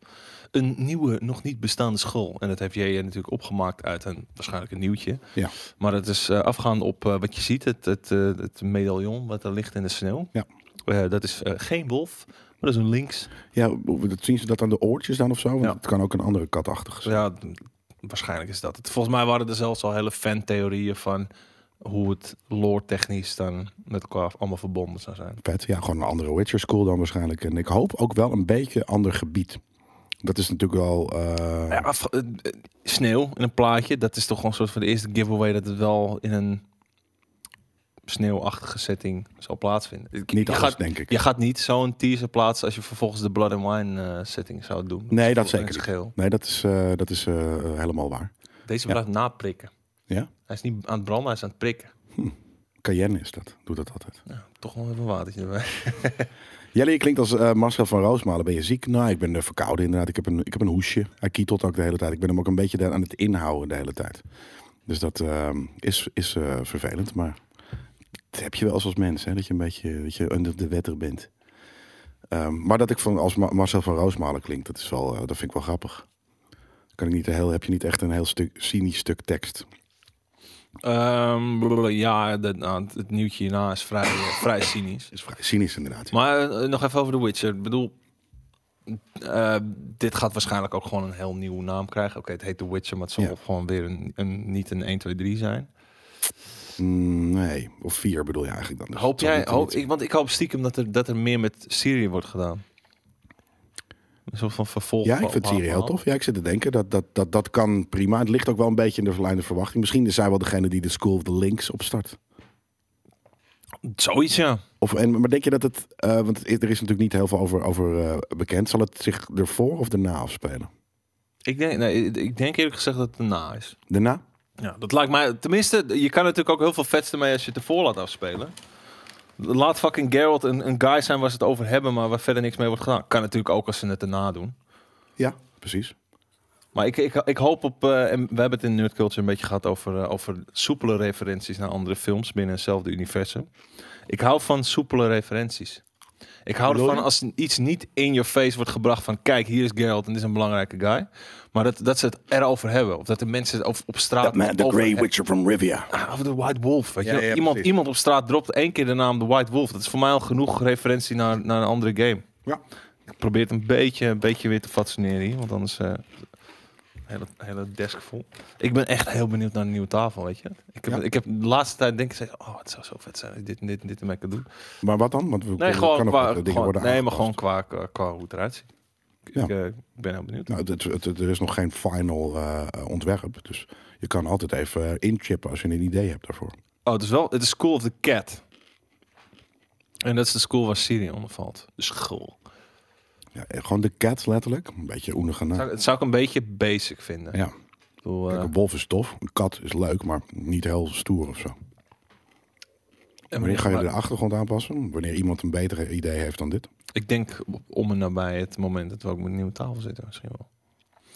A: Een nieuwe, nog niet bestaande school. En dat heeft jij natuurlijk opgemaakt uit een waarschijnlijk een nieuwtje.
B: Ja.
A: Maar het is eh, afgaand op eh, wat je ziet, het, het, eh, het medaillon wat er ligt in de sneeuw.
B: Ja.
A: Eh, dat is eh, geen wolf, maar dat is een links.
B: Ja, hoe- dat, zien ze dat aan de oortjes dan of zo? Want
A: Ja.
B: het kan ook een andere katachtige zijn.
A: Ja, d- waarschijnlijk is dat het. Volgens mij waren er zelfs al hele fantheorieën van hoe het lore technisch dan met elkaar allemaal verbonden zou zijn.
B: Vet. Ja, gewoon een andere Witcher School dan waarschijnlijk. En ik hoop ook wel een beetje ander gebied. Dat is natuurlijk wel... eh,
A: Ja, af- eh, eh, sneeuw in een plaatje, dat is toch gewoon een soort van de eerste giveaway dat het wel in een sneeuwachtige setting zal plaatsvinden. Ik-
B: Niet
A: je
B: alles,
A: gaat,
B: denk ik.
A: Je gaat niet zo'n teaser plaatsen als je vervolgens de Blood and Wine eh, setting zou doen.
B: Nee, dat
A: Voor- in
B: zeker niet.
A: Geel.
B: Nee, dat is, eh, dat is eh, helemaal waar.
A: Deze
B: Ja.
A: blijft naprikken.
B: Ja?
A: Hij is niet aan het branden, hij is aan het prikken.
B: Cayenne is dat. Doe dat altijd.
A: Nou, toch nog even een watertje erbij.
B: Jelle, je klinkt als eh, Marcel van Roosmalen. Ben je ziek? Nou, ik ben eh, verkouden inderdaad. Ik heb, een, ik heb een hoesje. Hij kietelt ook de hele tijd. Ik ben hem ook een beetje daar aan het inhouden de hele tijd. Dus dat ehm, is, is eh, vervelend. Maar dat heb je wel eens als mens. Hè? Dat je een beetje dat je under de wetter bent. Ehm, Ehm, maar dat ik van als Ma- Marcel van Roosmalen klink, dat is wel, eh, dat vind ik wel grappig. Kan ik niet een heel, heb je niet echt een heel stuk cynisch stuk tekst.
A: Ehm, blablabla, ja, dat, nou, het nieuwtje hierna is vrij, eh, vrij cynisch.
B: Is vrij cynisch inderdaad.
A: Maar eh, nog even over The Witcher. Ik bedoel, eh, dit gaat waarschijnlijk ook gewoon een heel nieuwe naam krijgen. Oké, het heet The Witcher, maar het zal
B: Ja.
A: gewoon weer een, een, niet een 1, 2, 3 zijn.
B: Mm, nee, of vier bedoel je eigenlijk dan. Dus
A: hoop
B: het zal
A: jij,
B: niet-
A: hoop,
B: niet-
A: ik, want ik hoop stiekem dat er, dat er meer met Syrië wordt gedaan. Een soort van vervolg.
B: Ja,
A: van-
B: ik vind
A: van-
B: Syrië heel
A: van-
B: tof. Ja, ik zit te denken dat dat, dat dat kan prima. Het ligt ook wel een beetje in de verleidende verwachting. Misschien is zij wel degene die de School of the Links opstart.
A: Zoiets, ja.
B: Of, en, maar denk je dat het, eh, want er is natuurlijk niet heel veel over, over eh, bekend. Zal het zich ervoor of daarna afspelen?
A: Ik denk, nee, ik- ik denk eerlijk gezegd dat het erna is.
B: Daarna?
A: Ja, dat lijkt mij. Tenminste, je kan natuurlijk ook heel veel vetste mee als je het ervoor laat afspelen. Laat fucking Geralt een, een guy zijn waar ze het over hebben, maar waar verder niks mee wordt gedaan. Kan natuurlijk ook als ze het erna doen.
B: Ja, precies.
A: Maar ik, ik, ik hoop op. eh, en we hebben het in Nerd Culture een beetje gehad over, eh, over soepele referenties naar andere films binnen hetzelfde universum. Ik hou van soepele referenties. Ik hou
B: Bedoel je?
A: ervan als iets niet in your face wordt gebracht van kijk, hier is Geralt en dit is een belangrijke guy. Maar dat, dat ze het erover hebben. Of dat de mensen het over- op straat over hebben.
B: Witcher from Rivia.
A: Ah, Of de White Wolf. Weet je?
B: Ja,
A: wel.
B: ja,
A: iemand,
B: precies.
A: iemand op straat dropt één keer de naam de White Wolf. Dat is voor mij al genoeg referentie naar, naar een andere game.
B: Ja.
A: Ik probeer het een beetje, een beetje weer te fascineren hier. Want anders eh hele, hele desk vol. Ik ben echt heel benieuwd naar de nieuwe tafel. Weet je? Ik, heb,
B: Ja.
A: ik heb de laatste tijd denk ik gezegd, oh, het zou zo vet zijn. als ik Dit en dit en dit ermee kan doen.
B: Maar wat dan? Want we
A: Nee,
B: kunnen-
A: gewoon
B: kan ook
A: qua,
B: wat dingen
A: gewoon-
B: worden
A: nee maar
B: aangepast.
A: gewoon qua, qua, qua hoe het eruit ziet. Ik,
B: Ja.
A: eh, ik ben heel benieuwd.
B: Nou, het, het- het- er is nog geen final eh, eh, ontwerp. Dus je kan altijd even eh, inchippen als je een idee hebt daarvoor.
A: Oh, het is wel, het is School of the Cat. En dat is de school waar Siri onder valt. De school.
B: Ja, eh, gewoon de cat letterlijk. Een beetje oenige naam.
A: Zou, Nou, het zou ik een beetje basic vinden.
B: Ja.
A: Ik bedoel, eh,
B: Kijk, een wolf is tof. Een kat is leuk, maar niet heel stoer of zo.
A: en
B: Wanneer ga je
A: eh, maar
B: de achtergrond aanpassen? Wanneer iemand een betere idee heeft dan dit?
A: Ik denk op- om en nabij het moment dat we ook met een nieuwe tafel zitten misschien wel.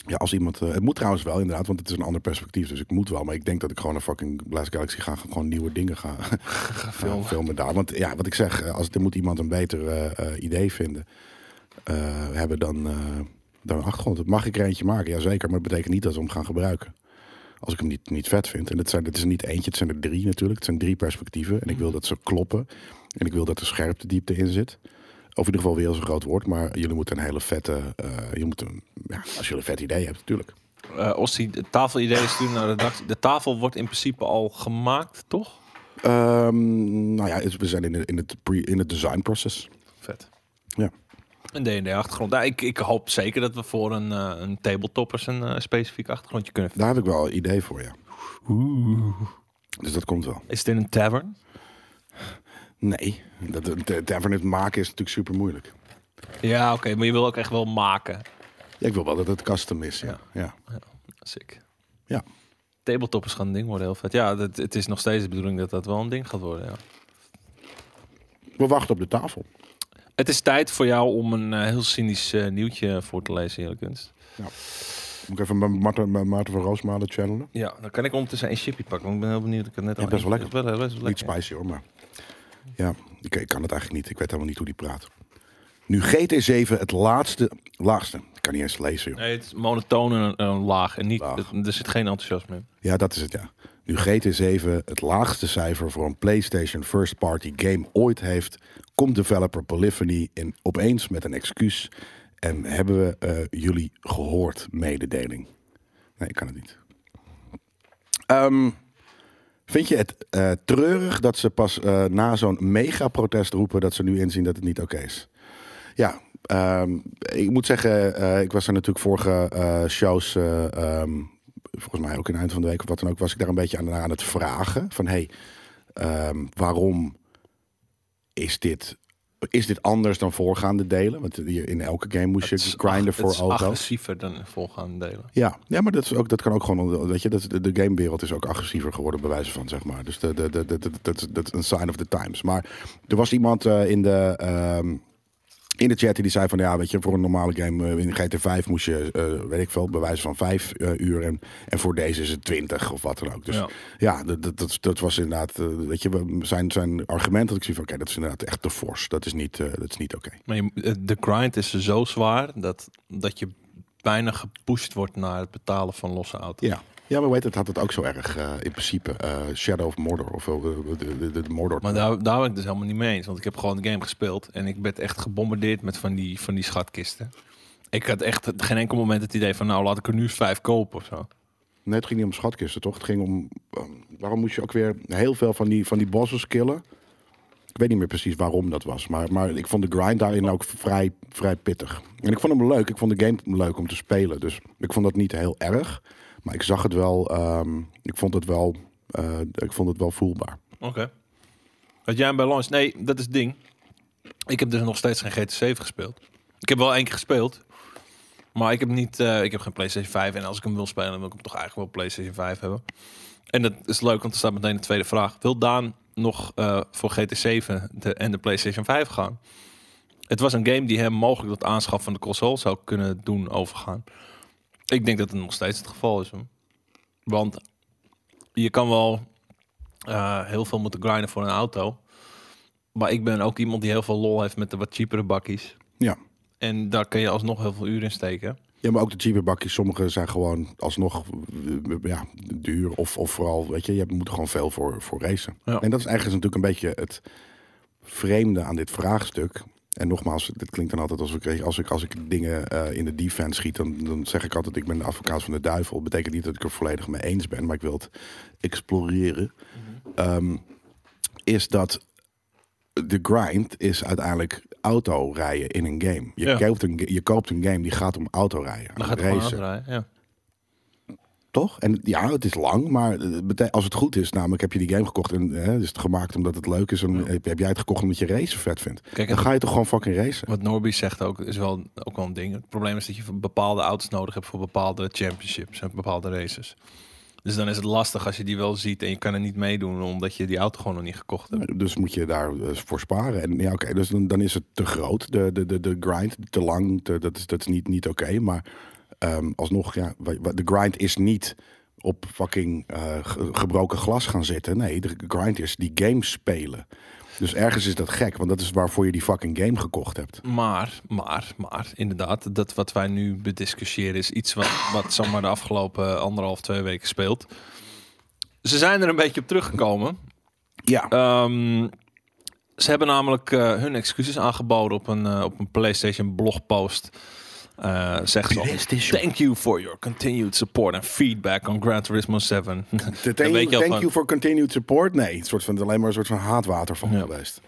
B: Ja, als iemand. eh, het moet trouwens wel, inderdaad, want het is een ander perspectief. Dus ik moet wel. Maar ik denk dat ik gewoon een fucking Blast Galaxy ga. Gewoon nieuwe dingen ga filmen. filmen daar. Want ja, wat ik zeg, eh, als er moet iemand een beter eh, eh, idee vinden eh, hebben dan, eh dan een achtergrond. Mag ik er eentje maken? Jazeker. Maar dat betekent niet dat we hem gaan gebruiken. Als ik hem niet, niet vet vind. En dat zijn, het is er niet eentje, het zijn er drie natuurlijk. Het zijn drie perspectieven. En ik wil dat ze kloppen. En ik wil dat er scherpte diepte in zit. Of in ieder geval weer als een groot woord. Maar jullie moeten een hele vette. eh, je moet een, ja, als jullie een vet idee hebt, natuurlijk.
A: Eh Ossie, de tafelideeën sturen naar de redactie. De tafel wordt in principe al gemaakt, toch?
B: Ehm, nou ja, we zijn in, de- in, het, pre, in het design process.
A: Vet.
B: Ja.
A: Een D&D-achtergrond. Nou, ik, ik hoop zeker dat we voor een, eh, een tabletoppers een eh, specifiek achtergrondje kunnen vinden.
B: Daar heb ik wel een idee voor, ja. Dus dat komt wel.
A: Is dit een tavern?
B: Nee, dat, de- daarvan het maken is natuurlijk super moeilijk.
A: Ja, oké. maar je wil ook echt wel maken.
B: Ja, ik wil wel dat het custom is, ja. ja.
A: Ja, sick.
B: Ja.
A: Tabletoppers gaan een ding worden, heel vet. Ja, dat, het is nog steeds de bedoeling dat dat wel een ding gaat worden, ja.
B: We wachten op de tafel.
A: Het is tijd voor jou om een eh, heel cynisch eh, nieuwtje voor te lezen, Heerlijk Kunst.
B: Moet ik even mijn Maarten, mijn Maarten van Roosmalen channelen?
A: Ja, dan kan ik ondertussen een chipje pakken, want ik ben heel benieuwd. Ik heb net al
B: Ja, best wel lekker.
A: Best wel, best wel
B: Niet
A: lekker.
B: spicy hoor, maar... Ja, ik, ik kan het eigenlijk niet. Ik weet helemaal niet hoe die praat. Nu GT7 het laatste... Laagste. Ik kan niet eens lezen, joh.
A: Nee, het is monotoon en eh, laag. En niet,
B: Laag.
A: het- er zit geen enthousiasme in.
B: Ja, dat is het, ja. Nu GT7 het laagste cijfer voor een PlayStation First Party game ooit heeft, komt developer Polyphony in, opeens met een excuus. En hebben we eh, jullie gehoord mededeling? Nee, ik kan het niet. Ehm, vind je het eh, treurig dat ze pas eh, na zo'n megaprotest roepen dat ze nu inzien dat het niet oké is? Ja, ehm, ik moet zeggen, eh, ik was er natuurlijk vorige eh, shows eh, ehm, volgens mij ook in het eind van de week of wat dan ook, was ik daar een beetje aan, aan het vragen van hey, ehm, waarom is dit, is dit anders dan voorgaande delen? Want je- in elke game moest
A: Het
B: je
A: is
B: grinden
A: ag-
B: voor
A: Het is
B: auto's.
A: agressiever dan de voorgaande delen.
B: Ja, ja maar dat, is ook, dat kan ook gewoon. Weet je, dat, de, de gamewereld is ook agressiever geworden, bij wijze van zeg maar. Dus de- de- de- de- de- dat is dat is een sign of the times. Maar er was iemand eh, in de. ehm, in de chat die zei van ja, weet je, voor een normale game eh, in GT5 moest je, eh, weet ik veel, bewijzen van vijf eh, uur. En, en voor deze is het twintig of wat dan ook. Dus ja,
A: Ja.
B: dat, dat, dat, dat was inderdaad, eh, weet je, we- zijn, zijn argument dat ik zie van oké, dat is inderdaad echt te fors. Dat is niet, eh, dat is niet oké.
A: Maar je- eh, de grind is zo zwaar dat, dat je bijna gepusht wordt naar het betalen van losse auto's.
B: Ja. Ja, maar weet het had het ook zo erg eh, in principe. eh, Shadow of Mordor of eh, de, de, de Mordor.
A: Maar daar, daar ben ik dus helemaal niet mee eens. Want ik heb gewoon de game gespeeld. En ik ben echt gebombardeerd met van die, van die schatkisten. Ik had echt geen enkel moment het idee van... nou, laat ik er nu eens vijf kopen of zo.
B: Nee, het ging niet om schatkisten, toch? Het ging om... ehm, waarom moest je ook weer heel veel van die, van die bosses killen? Ik weet niet meer precies waarom dat was. Maar, maar ik vond de grind daarin ook vrij, vrij pittig. En ik vond hem leuk. Ik vond de game leuk om te spelen. Dus ik vond dat niet heel erg. Maar ik zag het wel... ehm, ik, vond het wel eh, ik vond het wel voelbaar.
A: Oké. Had jij een balans? Nee, dat is het ding. Ik heb dus nog steeds geen GT7 gespeeld. Ik heb wel één keer gespeeld. Maar ik heb, niet, eh, ik heb geen PlayStation 5. En als ik hem wil spelen, dan wil ik hem toch eigenlijk wel PlayStation 5 hebben. En dat is leuk, want er staat meteen de tweede vraag. Wil Daan nog eh, voor GT7 de, en de PlayStation 5 gaan? Het was een game die hem mogelijk dat aanschaf van de console zou kunnen doen overgaan. Ik denk dat het nog steeds het geval is. hoor. Want je kan wel eh, heel veel moeten grinden voor een auto. Maar ik ben ook iemand die heel veel lol heeft met de wat cheapere bakkies.
B: Ja.
A: En daar kun je alsnog heel veel uren in steken.
B: Ja, maar ook de cheaper bakjes. Sommige zijn gewoon alsnog eh, ja, duur. Of, of vooral, weet je, je moet er gewoon veel voor, voor racen.
A: Ja.
B: En dat is eigenlijk natuurlijk een beetje het vreemde aan dit vraagstuk. En nogmaals, dit klinkt dan altijd als ik, als ik, als ik dingen eh, in de defense schiet, dan, dan zeg ik altijd ik ben de advocaat van de duivel. Dat betekent niet dat ik er volledig mee eens ben, maar ik wil het exploreren.
A: Mhm.
B: Ehm, is dat de grind is uiteindelijk autorijden in een game. Je,
A: Ja.
B: koopt een, ga- je koopt een game die gaat om autorijden.
A: Dan
B: om
A: gaat het gewoon uitdraaien. Ja.
B: toch? En ja, het is lang, maar het bete- als het goed is, namelijk heb je die game gekocht en hè, is het gemaakt omdat het leuk is. En heb, heb jij het gekocht omdat je racen vet vindt.
A: Kijk,
B: dan
A: en-
B: ga je toch gewoon fucking racen.
A: Wat Norby zegt ook, is wel, ook wel een ding. Het probleem is dat je bepaalde auto's nodig hebt voor bepaalde championships en bepaalde races. Dus dan is het lastig als je die wel ziet en je kan er niet meedoen omdat je die auto gewoon nog niet gekocht hebt.
B: Dus moet je daar eh, voor sparen. En ja, oké, dus dan, dan is het te groot. De, de, de, de grind, te lang, te- dat is, dat is niet, niet oké. maar ehm, alsnog, ja, wa- wa- de grind is niet op fucking eh, ge- gebroken glas gaan zitten. Nee, de grind is die game spelen. Dus ergens is dat gek, want dat is waarvoor je die fucking game gekocht hebt.
A: Maar, maar, maar, inderdaad, dat wat wij nu bediscussiëren is iets wat, wat zomaar de afgelopen anderhalf, twee weken speelt. Ze zijn er een beetje op teruggekomen.
B: Ja.
A: Ehm, ze hebben namelijk eh, hun excuses aangeboden op een, eh, op een PlayStation blogpost. Eh zeggen ze al,
B: PlayStation.
A: Thank you for your continued support and feedback on Gran Turismo 7.
B: De
A: Dan weet
B: thank
A: je al
B: thank
A: van-
B: you for continued support. Nee, het soort van het is alleen maar een soort van haatwater van geweest.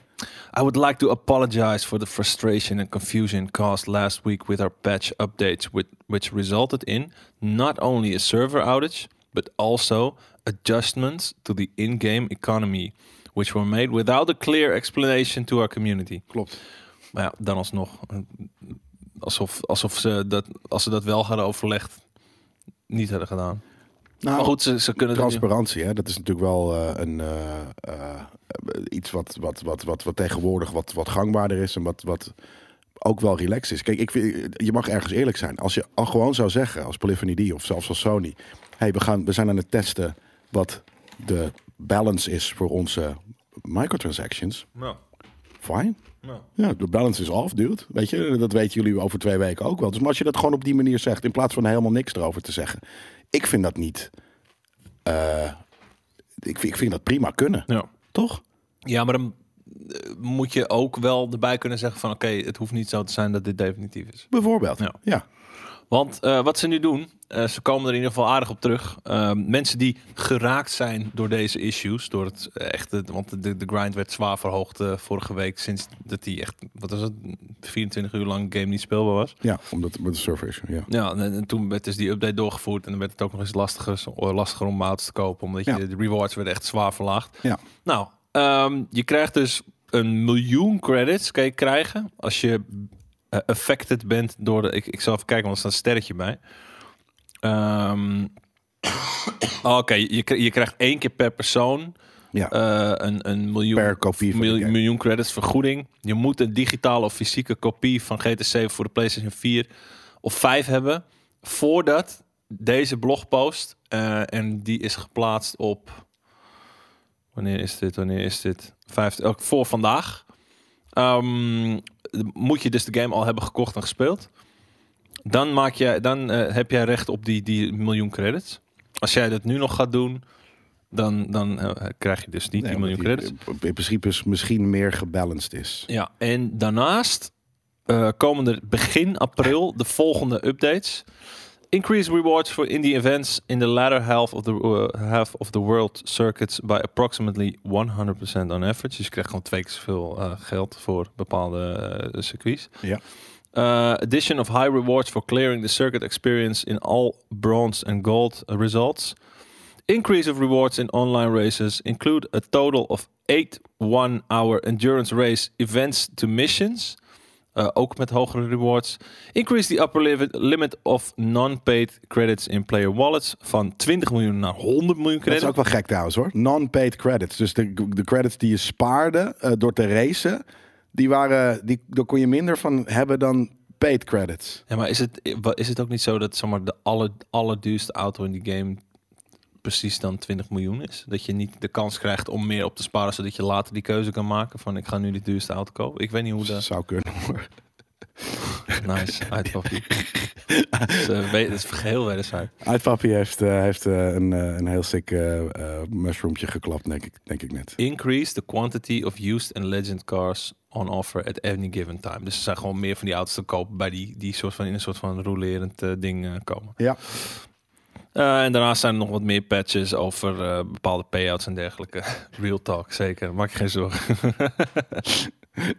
A: I would like to apologize for the frustration and confusion caused last week with our patch updates, which, which resulted in not only a server outage, but also adjustments to the in game economy, which were made without a clear explanation to our community.
B: Klopt.
A: Maar ja, dan alsnog. eh, Alsof, alsof ze dat, als ze dat wel hadden overlegd, niet hadden gedaan.
B: Nou,
A: Maar goed, ze, ze kunnen het niet-
B: transparantie, hè? dat is natuurlijk wel eh, een, eh, eh, iets wat, wat, wat, wat, wat tegenwoordig wat, wat gangbaarder is en wat, wat ook wel relaxed is. Kijk, ik vind, je mag ergens eerlijk zijn. Als je al gewoon zou zeggen, als Polyphony D of zelfs als Sony... hey, we, gaan, we zijn aan het testen wat de balance is voor onze microtransactions.
A: Nou,
B: Fine.
A: nou.
B: Ja, de balance is off, dude. Weet je, dat weten jullie over twee weken ook wel. Dus maar als je dat gewoon op die manier zegt, in plaats van helemaal niks erover te zeggen. Ik vind dat niet. eh, ik, vind- ik vind dat prima kunnen,
A: Ja.
B: toch?
A: Ja, maar dan eh, moet je ook wel erbij kunnen zeggen van... oké, het hoeft niet zo te zijn dat dit definitief is.
B: Bijvoorbeeld. Ja.
A: Ja. Want eh, wat ze nu doen, eh, ze komen er in ieder geval aardig op terug. Eh, mensen die geraakt zijn door deze issues, door het eh, echte... want de, de grind werd zwaar verhoogd eh, vorige week... sinds dat die echt, wat was het, 24 uur lang game niet speelbaar was.
B: ja, omdat met de server issue, ja.
A: Ja, en, en toen werd dus die update doorgevoerd... en dan werd het ook nog eens lastiger, lastiger om auto's te kopen... omdat
B: Ja.
A: je, de rewards werden echt zwaar verlaagd.
B: ja.
A: Nou, ehm, je krijgt dus een miljoen credits kan je krijgen als je eh, affected bent door de. Ik, ik zal even kijken, want er staat een sterretje bij. oh, Ehm, Oké, je, kri- je krijgt één keer per persoon
B: Ja.
A: eh, een, een miljoen,
B: Per kopie van de
A: mil-
B: game.
A: miljoen credits vergoeding. Je moet een digitale of fysieke kopie van GT7 voor de PlayStation 4 of 5 hebben. Voordat deze blogpost, eh, en die is geplaatst op. Wanneer is dit? Wanneer is dit? Vijf, eh, voor vandaag. Ehm, moet je dus de game al hebben gekocht en gespeeld. Dan, maak jij, dan eh, heb jij recht op die, die miljoen credits. Als jij dat nu nog gaat doen, dan, dan eh, krijg je dus niet
B: Nee,
A: die miljoen
B: omdat
A: credits.
B: die In principe is misschien meer gebalanced is.
A: Ja, en daarnaast eh, komen er begin april de volgende updates. Increase rewards for indie events in the latter half of the, eh, half of the world circuits by approximately 100% on average. Dus je krijgt gewoon twee keer zoveel eh, geld voor bepaalde eh, circuits.
B: Ja.
A: Uh, addition of high rewards for clearing the circuit experience in all bronze and gold uh, results. Increase of rewards in online races include a total of eight one-hour endurance race events to missions. Uh, ook met hogere rewards. Increase the upper li- limit of non-paid credits in player wallets van 20 miljoen naar 100 miljoen
B: Dat is
A: credits.
B: ook wel gek trouwens hoor. Non-paid credits. Dus de, de credits die je spaarde eh, door te racen, die waren, die, daar kon je minder van hebben dan paid credits.
A: Ja, maar is het, is het ook niet zo dat zeg maar, de aller, allerduurste auto in die game precies dan 20 miljoen is? Dat je niet de kans krijgt om meer op te sparen, zodat je later die keuze kan maken van ik ga nu die duurste auto kopen. Ik weet niet hoe
B: Dat
A: dat...
B: zou kunnen hoor.
A: Nice, uit papier. Dat is, eh, we- dat is geheel wederzijds.
B: Uitpapi heeft, eh, heeft eh, een, eh, een heel sick eh eh, mushroompje geklapt, denk ik, denk ik net.
A: Increase the quantity of used and legend cars on offer at any given time. Dus er zijn gewoon meer van die auto's te kopen bij die, die soort van, in een soort van rolerend eh, ding eh, komen.
B: Ja,
A: Eh, en daarnaast zijn er nog wat meer patches over eh, bepaalde payouts en dergelijke. Real talk, zeker. Maak je geen zorgen.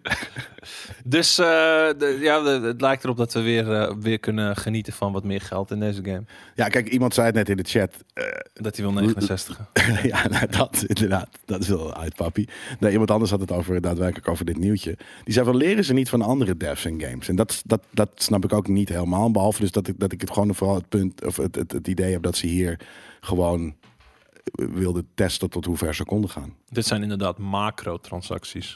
A: dus eh, de- ja, de- het lijkt erop dat we weer, eh, weer kunnen genieten van wat meer geld in deze game.
B: ja kijk, iemand zei het net in de chat. eh,
A: Dat hij wil 69.
B: ja, nou, dat inderdaad. Dat is wel uit, papi. Nee, iemand anders had het over, daadwerkelijk over dit nieuwtje. Die zei van, leren ze niet van andere devs in games? En dat, dat, dat snap ik ook niet helemaal. Behalve dus dat ik, dat ik het gewoon vooral het punt, of het, het, het idee heb dat ze hier gewoon eh, wilden testen tot hoe ver ze konden gaan.
A: Dit zijn inderdaad macro-transacties.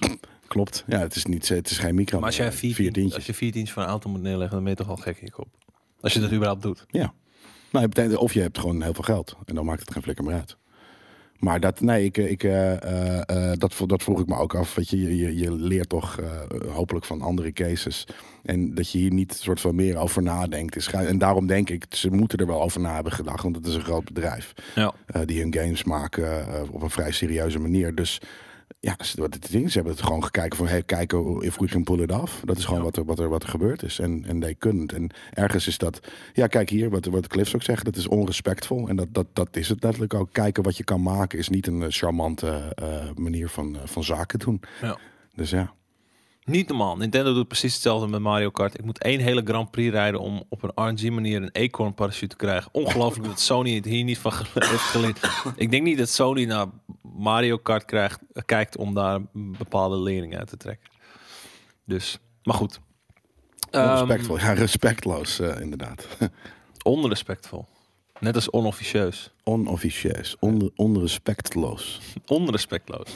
B: Klopt. Ja, het is, niet, het is geen micro.
A: Maar als jij
B: eh,
A: vier, tientjes. als je vier tientjes voor een auto moet neerleggen, dan ben je toch al gek in je kop. Als je dat überhaupt doet.
B: Ja. Nou, het betekent- of je hebt gewoon heel veel geld. En dan maakt het geen flikker meer uit. Maar dat, nee, ik, ik, eh, eh, eh, dat, vo- dat vroeg ik me ook af. Weet je, je- je, je leert toch eh, hopelijk van andere cases. En dat je hier niet soort van meer over nadenkt. Is, ga- en daarom denk ik, ze moeten er wel over na hebben gedacht. Want het is een groot bedrijf.
A: Ja.
B: eh, die hun games maken eh, op een vrij serieuze manier. Dus ja, ze, wat het ding, ze hebben het gewoon gekeken van... Hey, kijken hoe- if we can pull it off. Dat is gewoon wat, er, wat, er, wat er gebeurd is. En, en they couldn't. En ergens is dat... Ja, kijk hier, wat, wat Cliffs ook zegt. Dat is onrespectvol. En dat, dat, dat is het letterlijk ook. Kijken wat je kan maken is niet een eh, charmante eh, manier van, eh, van zaken doen.
A: Ja.
B: Dus ja.
A: Niet normaal. Nintendo doet precies hetzelfde met Mario Kart. Ik moet één hele Grand Prix rijden om op een RNG manier een acorn parachute te krijgen. Ongelooflijk dat Sony het hier niet van gele- heeft geleerd. Ik denk niet dat Sony naar Mario Kart krijgt, kijkt om daar bepaalde lering uit te trekken. Dus, maar goed. Ehm,
B: Onrespectvol. ja, respectloos eh, inderdaad.
A: onrespectvol. Net als onofficieus.
B: Onofficieus. On, onrespectloos.
A: Onrespectloos.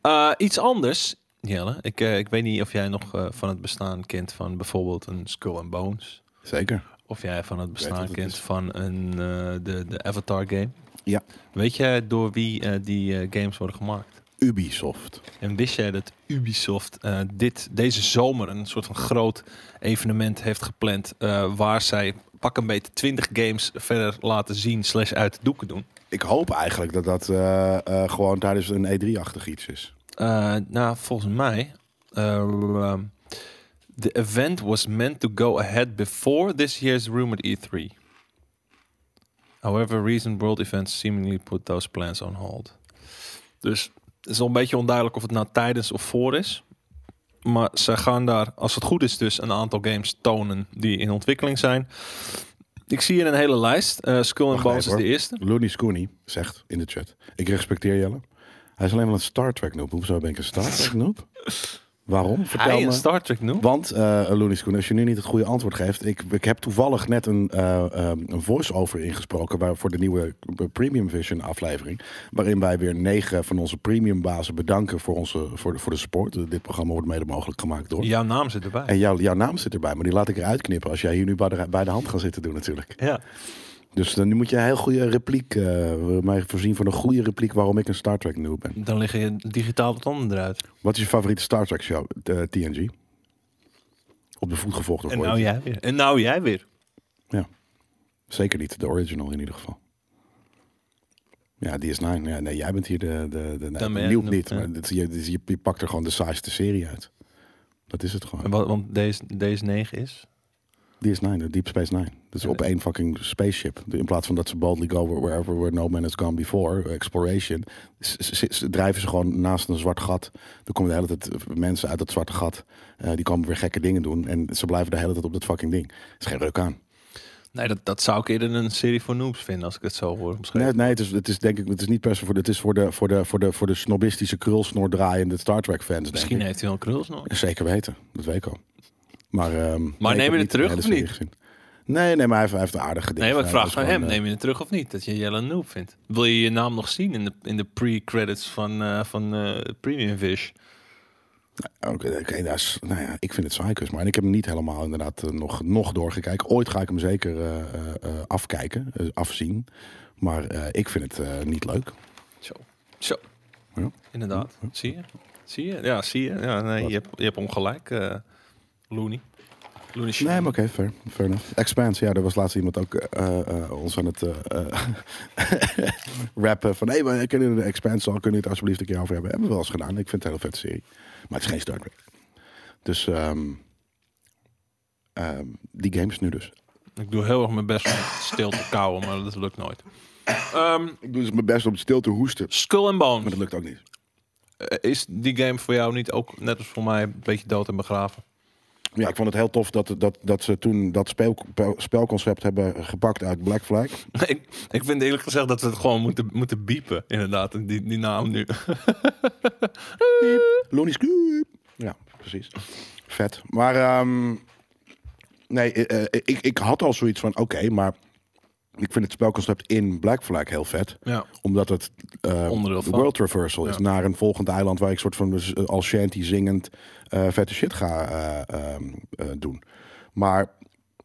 A: Eh, iets anders, Jelle. Ik, eh, ik weet niet of jij nog eh, van het bestaan kent van bijvoorbeeld een Skull and Bones.
B: Zeker.
A: Of jij van het
B: wat
A: bestaan
B: het
A: kent
B: is.
A: van een, eh, de, de Avatar game.
B: Ja.
A: Weet jij door wie eh, die eh, games worden gemaakt?
B: Ubisoft.
A: En wist jij dat Ubisoft eh, dit, deze zomer een soort van groot evenement heeft gepland... eh, waar zij pak een beetje 20 games verder laten zien slash uit de doeken doen?
B: Ik hoop eigenlijk dat dat eh, eh, gewoon tijdens een E3-achtig iets is.
A: Eh, nou, volgens mij. eh, the event was meant to go ahead before this year's rumored E3. However, recent world events seemingly put those plans on hold. Dus het is al een beetje onduidelijk of het nou tijdens of voor is. Maar ze gaan daar, als het goed is, dus een aantal games tonen die in ontwikkeling zijn. Ik zie hier een hele lijst. Eh Skull and Bones
B: Wacht
A: is
B: even,
A: de
B: hoor.
A: eerste.
B: Looney Scooney zegt in de chat: Ik respecteer Jelle. Hij is alleen maar een Star Trek noob. Hoezo ben ik een Star Trek noob? Waarom? Vertel
A: Hij een
B: me.
A: Star Trek noemt?
B: Want, eh Looney Schoen, als je nu niet het goede antwoord geeft... Ik, ik heb toevallig net een, eh, ehm, een voice-over ingesproken... Waar, voor de nieuwe eh, Premium Vision aflevering... waarin wij weer negen van onze premium bazen bedanken voor, onze, voor, de, voor de support. Eh, Dit programma wordt mede mogelijk gemaakt door...
A: Jouw naam zit erbij.
B: En jouw, jouw naam zit erbij, maar die laat ik eruit knippen... als jij hier nu bij de, bij de hand gaat zitten doen natuurlijk.
A: Ja.
B: Dus dan nu moet je een heel goede repliek... eh, mij voorzien van een goede repliek waarom ik een Star Trek nieuw ben.
A: Dan liggen je digitaal de tanden eruit.
B: Wat is je favoriete Star Trek show, eh, TNG? Op de voet gevolgd door
A: En
B: Voyager.
A: nou jij weer. En nou jij weer.
B: Zeker niet de original in ieder geval. Ja, die is nine. Ja, nee, jij bent hier de, de, de,
A: Dan ben
B: nee,
A: jij
B: nieuw
A: de-
B: niet.
A: ja.
B: Maar dit, je, dit- je, je pakt er gewoon de saaiste serie uit. Dat is het gewoon.
A: Wat, want deze, deze 9 is?
B: Die is nine, de Deep Space Nine. Dat is op één fucking spaceship. In plaats van dat ze boldly go wherever where no man has gone before, eh, exploration, s- s- s- drijven ze gewoon naast een zwart gat. Er komen de hele tijd eh, mensen uit dat zwarte gat. eh, die komen weer gekke dingen doen. En ze blijven de hele tijd op dat fucking ding. is geen reuk aan.
A: Nee, dat, dat zou ik eerder een serie voor noobs vinden als ik het zo hoor omschreven.
B: Nee, nee het, is, het is denk ik, het is niet per se voor de, het is voor de, voor de, voor de, voor de snobistische krulsnor draaiende Star Trek fans. denk
A: Misschien
B: ik.
A: heeft hij wel kruls nog.
B: Zeker weten, dat weet ik al. Maar, ehm, nee, ik
A: neem je
B: heb
A: het
B: niet de
A: terug
B: hele
A: of
B: serie
A: niet?
B: gezien. Nee, nee, maar hij heeft, hij heeft een aardige ding.
A: Nee, maar ik
B: gedaan.
A: vraag
B: Dat
A: van
B: is
A: hem.
B: gewoon, eh,
A: Neem je het terug of niet? Dat je Jelle een noob vindt. Wil je je naam nog zien in de, in de pre-credits van, eh, van eh, Premium Fish?
B: Oké, oké, dat is- nou ja, ik vind het cycus, maar ik heb hem niet helemaal inderdaad eh, nog, nog doorgekeken. Ooit ga ik hem zeker eh, eh, eh, afkijken, eh, afzien. Maar eh, ik vind het eh, niet leuk.
A: Zo. Zo.
B: Ja.
A: Inderdaad. Zie je? Zie je? Ja, zie je. Ja, nee, je, hebt, je hebt ongelijk, eh Looney. Looney Shine.
B: Nee, maar oké, fair, fair enough. Expanse, ja, er was laatst iemand ook eh, eh, ons aan het eh, eh, rappen van... hé, hey, maar kunnen we de Expanse al, kunnen we het alsjeblieft een keer over hebben? Hebben we wel eens gedaan, ik vind het een heel vette serie. Maar het is geen Star Trek. Dus ehm, ehm, die games nu dus.
A: Ik doe heel erg mijn best om stil te kauwen, maar dat lukt nooit. Ehm
B: Ik doe dus mijn best om stil te hoesten,
A: Skull and
B: maar
A: Bones.
B: dat lukt ook niet.
A: Eh, Is die game voor jou niet ook, net als voor mij, een beetje dood en begraven?
B: Ja, ik vond het heel tof dat, dat, dat ze toen dat speel, pel- spelconcept hebben gepakt uit Black Flag.
A: ik, ik vind eerlijk gezegd dat we het gewoon moeten, moeten biepen, inderdaad, die, die naam nu.
B: Lonnie Scoop. Ja, precies. Vet. Maar ehm, nee, eh, eh, ik, ik had al zoiets van, oké, maar ik vind het spelconcept in Black Flag heel vet.
A: ja.
B: Omdat het eh,
A: Onderdeel
B: de
A: van.
B: world traversal is
A: Ja.
B: naar een volgend eiland waar ik soort van dus, eh, als shanty zingend eh, vette shit ga eh, ehm, eh, doen. Maar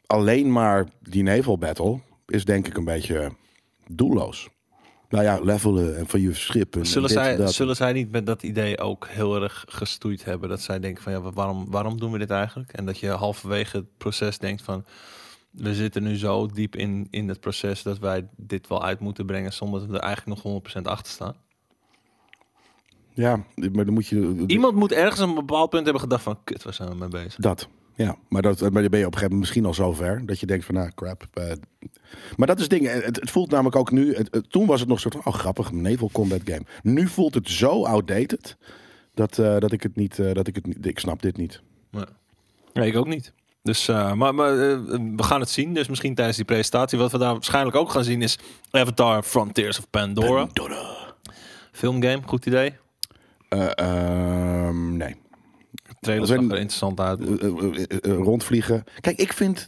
B: alleen maar die naval battle is denk ik een beetje doelloos. Nou ja, levelen en van je schip. En
A: Zullen,
B: dit en
A: zij,
B: dat.
A: zullen zij niet met dat idee ook heel erg gestoeid hebben? Dat zij denken van ja, wa- waarom, waarom doen we dit eigenlijk? En dat je halverwege het proces denkt van we zitten nu zo diep in, in het proces dat wij dit wel uit moeten brengen zonder dat we er eigenlijk nog 100% achter staan.
B: Ja, maar dan moet je...
A: Iemand moet ergens een bepaald punt hebben gedacht van kut, waar zijn we mee bezig?
B: Dat. Ja, maar, dat, maar dan ben je op een gegeven moment misschien al zover dat je denkt van, nou, crap. eh. maar dat is het ding. Het, het voelt namelijk ook nu. het- het- toen was het nog een soort van, oh, grappig, een naval combat game. Nu voelt het zo outdated dat, eh, dat ik het niet, eh, dat ik het niet, ik snap dit niet.
A: Nee. Nee, ik ook niet. Dus, eh, maar, maar eh, we gaan het zien. Dus misschien tijdens die presentatie. Wat we daar waarschijnlijk ook gaan zien is Avatar Frontiers of Pandora. Filmgame, goed idee.
B: Eh, ehm, nee.
A: Trailer
B: Zijn-
A: zag er interessant uit.
B: Eh, eh, eh, eh, rondvliegen. Kijk, ik vind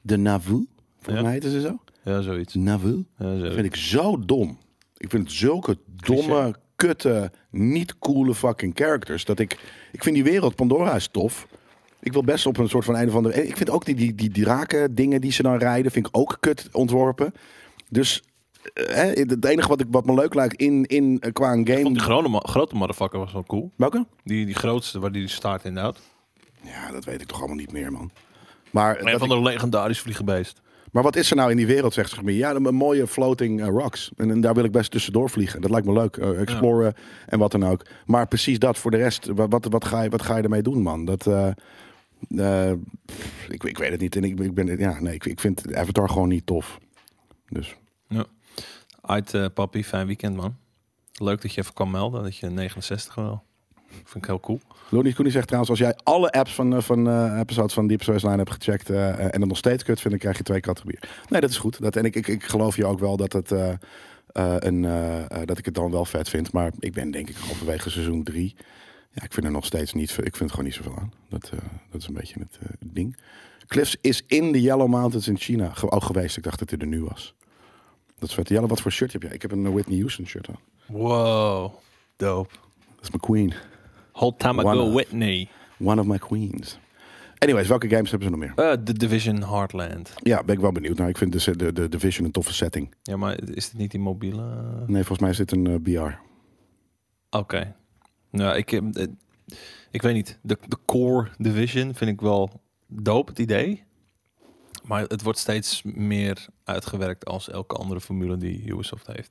B: de Navu, volgens
A: Ja.
B: mij heet ze zo.
A: Ja, zoiets.
B: De Navu.
A: Ja,
B: Dat
A: zoiets.
B: vind ik zo dom. Ik vind het zulke domme, kutte, niet coole fucking characters. Dat ik, ik vind die wereld Pandora is tof. Ik wil best op een soort van een of andere. en Ik vind ook die, die, die draken dingen die ze dan rijden, vind ik ook kut ontworpen. Dus eh, hè, het enige wat, ik, wat me leuk lijkt in, in eh, qua een
A: Ik vond die
B: game.
A: grote, ma- grote motherfucker was wel cool.
B: Welke?
A: Die, die grootste waar die staart in houdt.
B: Ja, dat weet ik toch allemaal niet meer, man. Maar, dat
A: Een van de legendarische vliegenbeest.
B: ik- maar wat is er nou in die wereld, zegt ze meer? Ja, een mooie floating eh, rocks. En, en daar wil ik best tussendoor vliegen. Dat lijkt me leuk. eh, exploren en wat dan ook. Maar precies dat voor de rest. Wat, wat, wat, ga, je, wat ga je ermee doen, man? Dat, eh, eh, pff, ik, ik weet het niet. En ik, ik, ben, ja, nee, ik, ik vind Avatar gewoon niet tof. Dus
A: Ja. Uit eh papi, fijn weekend man. Leuk dat je even kwam melden dat je 69 wel. Vind ik heel cool.
B: Lonnie Koenie zegt trouwens, als jij alle apps van, eh, van eh, episodes van Deep Space Nine hebt gecheckt eh, eh, en het nog steeds kut vindt, dan krijg je twee categorieën. Nee, dat is goed. Dat, en ik, ik, ik geloof je ook wel dat, het, eh, eh, een, eh, eh, dat ik het dan wel vet vind. Maar ik ben denk ik halverwege seizoen drie. Ja, ik vind er nog steeds niet. veel- Ik vind er gewoon niet zoveel aan. Dat, eh, dat is een beetje het eh, ding. Cliffs is in de Yellow Mountains in China ge- ook geweest. Ik dacht dat hij er nu was. Dat is vet. Jelle, wat voor shirt heb jij? Ik heb een eh, Whitney Houston shirt aan.
A: Wow. Dope.
B: Dat is mijn queen.
A: Whole time
B: One
A: ago,
B: of.
A: Whitney.
B: One of my queens. Anyways, welke games hebben ze nog meer?
A: Eh, The Division Heartland.
B: Ja, ben ik wel benieuwd. Nou, ik vind de, de, de Division een toffe setting.
A: Ja, maar is dit niet die mobiele? eh?
B: Nee, volgens mij is dit een eh, BR.
A: Oké. Nou, ik, eh, eh, ik weet niet. De, de core division vind ik wel dope, het idee. Maar het wordt steeds meer uitgewerkt als elke andere formule die Ubisoft heeft.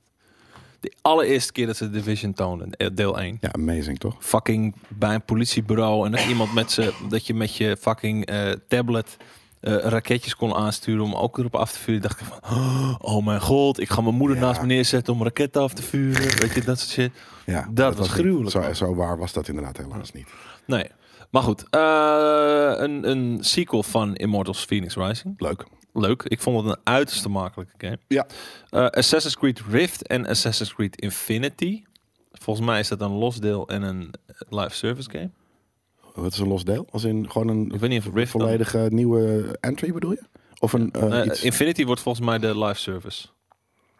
A: De allereerste keer dat ze de division toonden, eh, deel 1.
B: Ja, amazing toch?
A: Fucking bij een politiebureau en dat iemand met ze, dat je met je fucking eh, tablet eh, raketjes kon aansturen om ook erop af te vuren. Dacht ik van, oh mijn god, ik ga mijn moeder
B: Ja.
A: naast me neerzetten om raketten af te vuren. weet je, dat soort shit.
B: Ja,
A: Dat was
B: niet-
A: gruwelijk,
B: Zo,
A: man.
B: zo waar was dat inderdaad helaas niet.
A: Nee. Maar goed, eh, een, een sequel van Immortals Phoenix Rising.
B: Leuk.
A: Leuk. Ik vond het een uiterst makkelijke game.
B: Ja.
A: Eh, Assassin's Creed Rift en Assassin's Creed Infinity. Volgens mij is dat een los deel en een eh, live service game.
B: Wat is een los deel? Als in gewoon een
A: Ik weet niet of Rift dan-
B: volledige nieuwe entry bedoel je? Of een eh,
A: Eh,
B: iets...
A: Infinity wordt volgens mij de live service.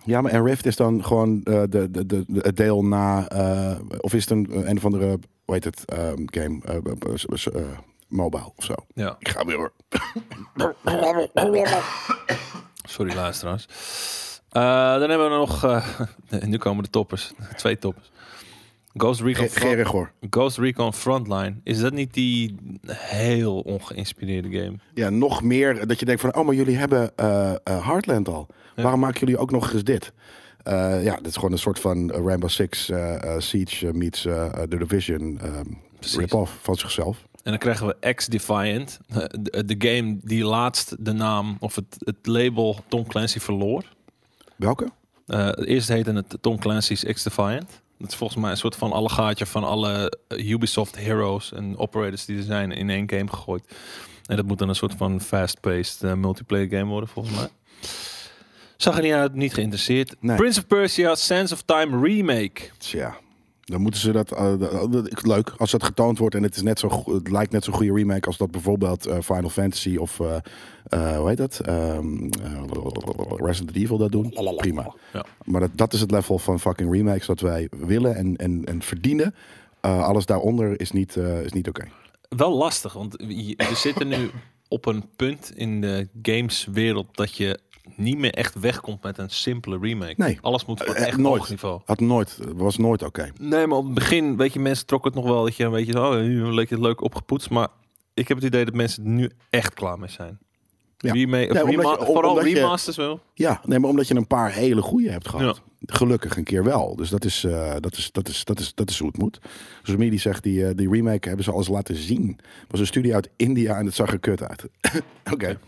B: Ja, maar en Rift is dan gewoon eh, de, de, de, de- het deel na... eh, of is het een, een of andere, hoe heet het, ehm, game, eh, eh, s- eh, mobile of zo?
A: Ja.
B: Ik ga weer...
A: Sorry luisteraars. Eh, dan hebben we nog... eh, nu komen de toppers. Twee toppers. Ghost Recon,
B: Ge-
A: Front-
B: Gerig hoor.
A: Ghost Recon Frontline. Is dat niet die heel ongeïnspireerde game?
B: Ja, nog meer dat je denkt van... Oh, maar jullie hebben eh, eh, Heartland al.
A: Ja.
B: Waarom maken jullie ook nog eens dit? Eh, ja, dit is gewoon een soort van eh, Rainbow Six eh, eh, Siege eh, meets eh, eh, The Division ehm,
A: Precies.
B: rip-off van zichzelf.
A: En dan krijgen we X-Defiant. eh, De, de game die laatst de naam of het, het label Tom Clancy verloor.
B: Welke?
A: Eh, eerst heette het Tom Clancy's X-Defiant. Dat is volgens mij een soort van allegaatje van alle eh, Ubisoft heroes en operators die er zijn in één game gegooid. En dat moet dan een soort van fast-paced eh, multiplayer game worden volgens mij. Zag er niet uit, niet geïnteresseerd.
B: Nee.
A: Prince of Persia Sands of Time Remake.
B: Tja, dan moeten ze dat... eh, dat- dat- ik- leuk, als dat getoond wordt en het, is net zo, go- het lijkt net zo'n goede remake als dat bijvoorbeeld eh, Final Fantasy of... eh, eh, hoe heet dat? Ehm, eh, Resident Evil dat doen. Prima.
A: Ja.
B: Maar dat, dat is het level van fucking remakes dat wij willen en, en, en verdienen. Eh, alles daaronder is niet, eh, is niet oké.
A: wel lastig, want je- we zitten nu op een punt in de gameswereld dat je niet meer echt wegkomt met een simpele remake.
B: Nee.
A: Alles moet voor
B: Eh,
A: echt
B: nooit.
A: hoog niveau.
B: Had nooit, was nooit oké.
A: Nee, maar op het begin, weet je, mensen trokken het nog wel dat je een beetje, zo, oh, nu leek het leuk opgepoetst, maar ik heb het idee dat mensen er nu echt klaar mee zijn.
B: Ja.
A: Remake, of
B: Nee, omdat
A: rema-
B: je- om-
A: vooral
B: omdat je-
A: remasters wel.
B: Ja, nee, maar omdat je een paar hele goede hebt gehad. Gelukkig een keer wel. Dus dat is, eh, dat is, dat is, dat is, dat is hoe het moet. Dus Mie die zegt, die, eh, die remake hebben ze alles laten zien. Het was een studie uit India en het zag er kut uit. Oké.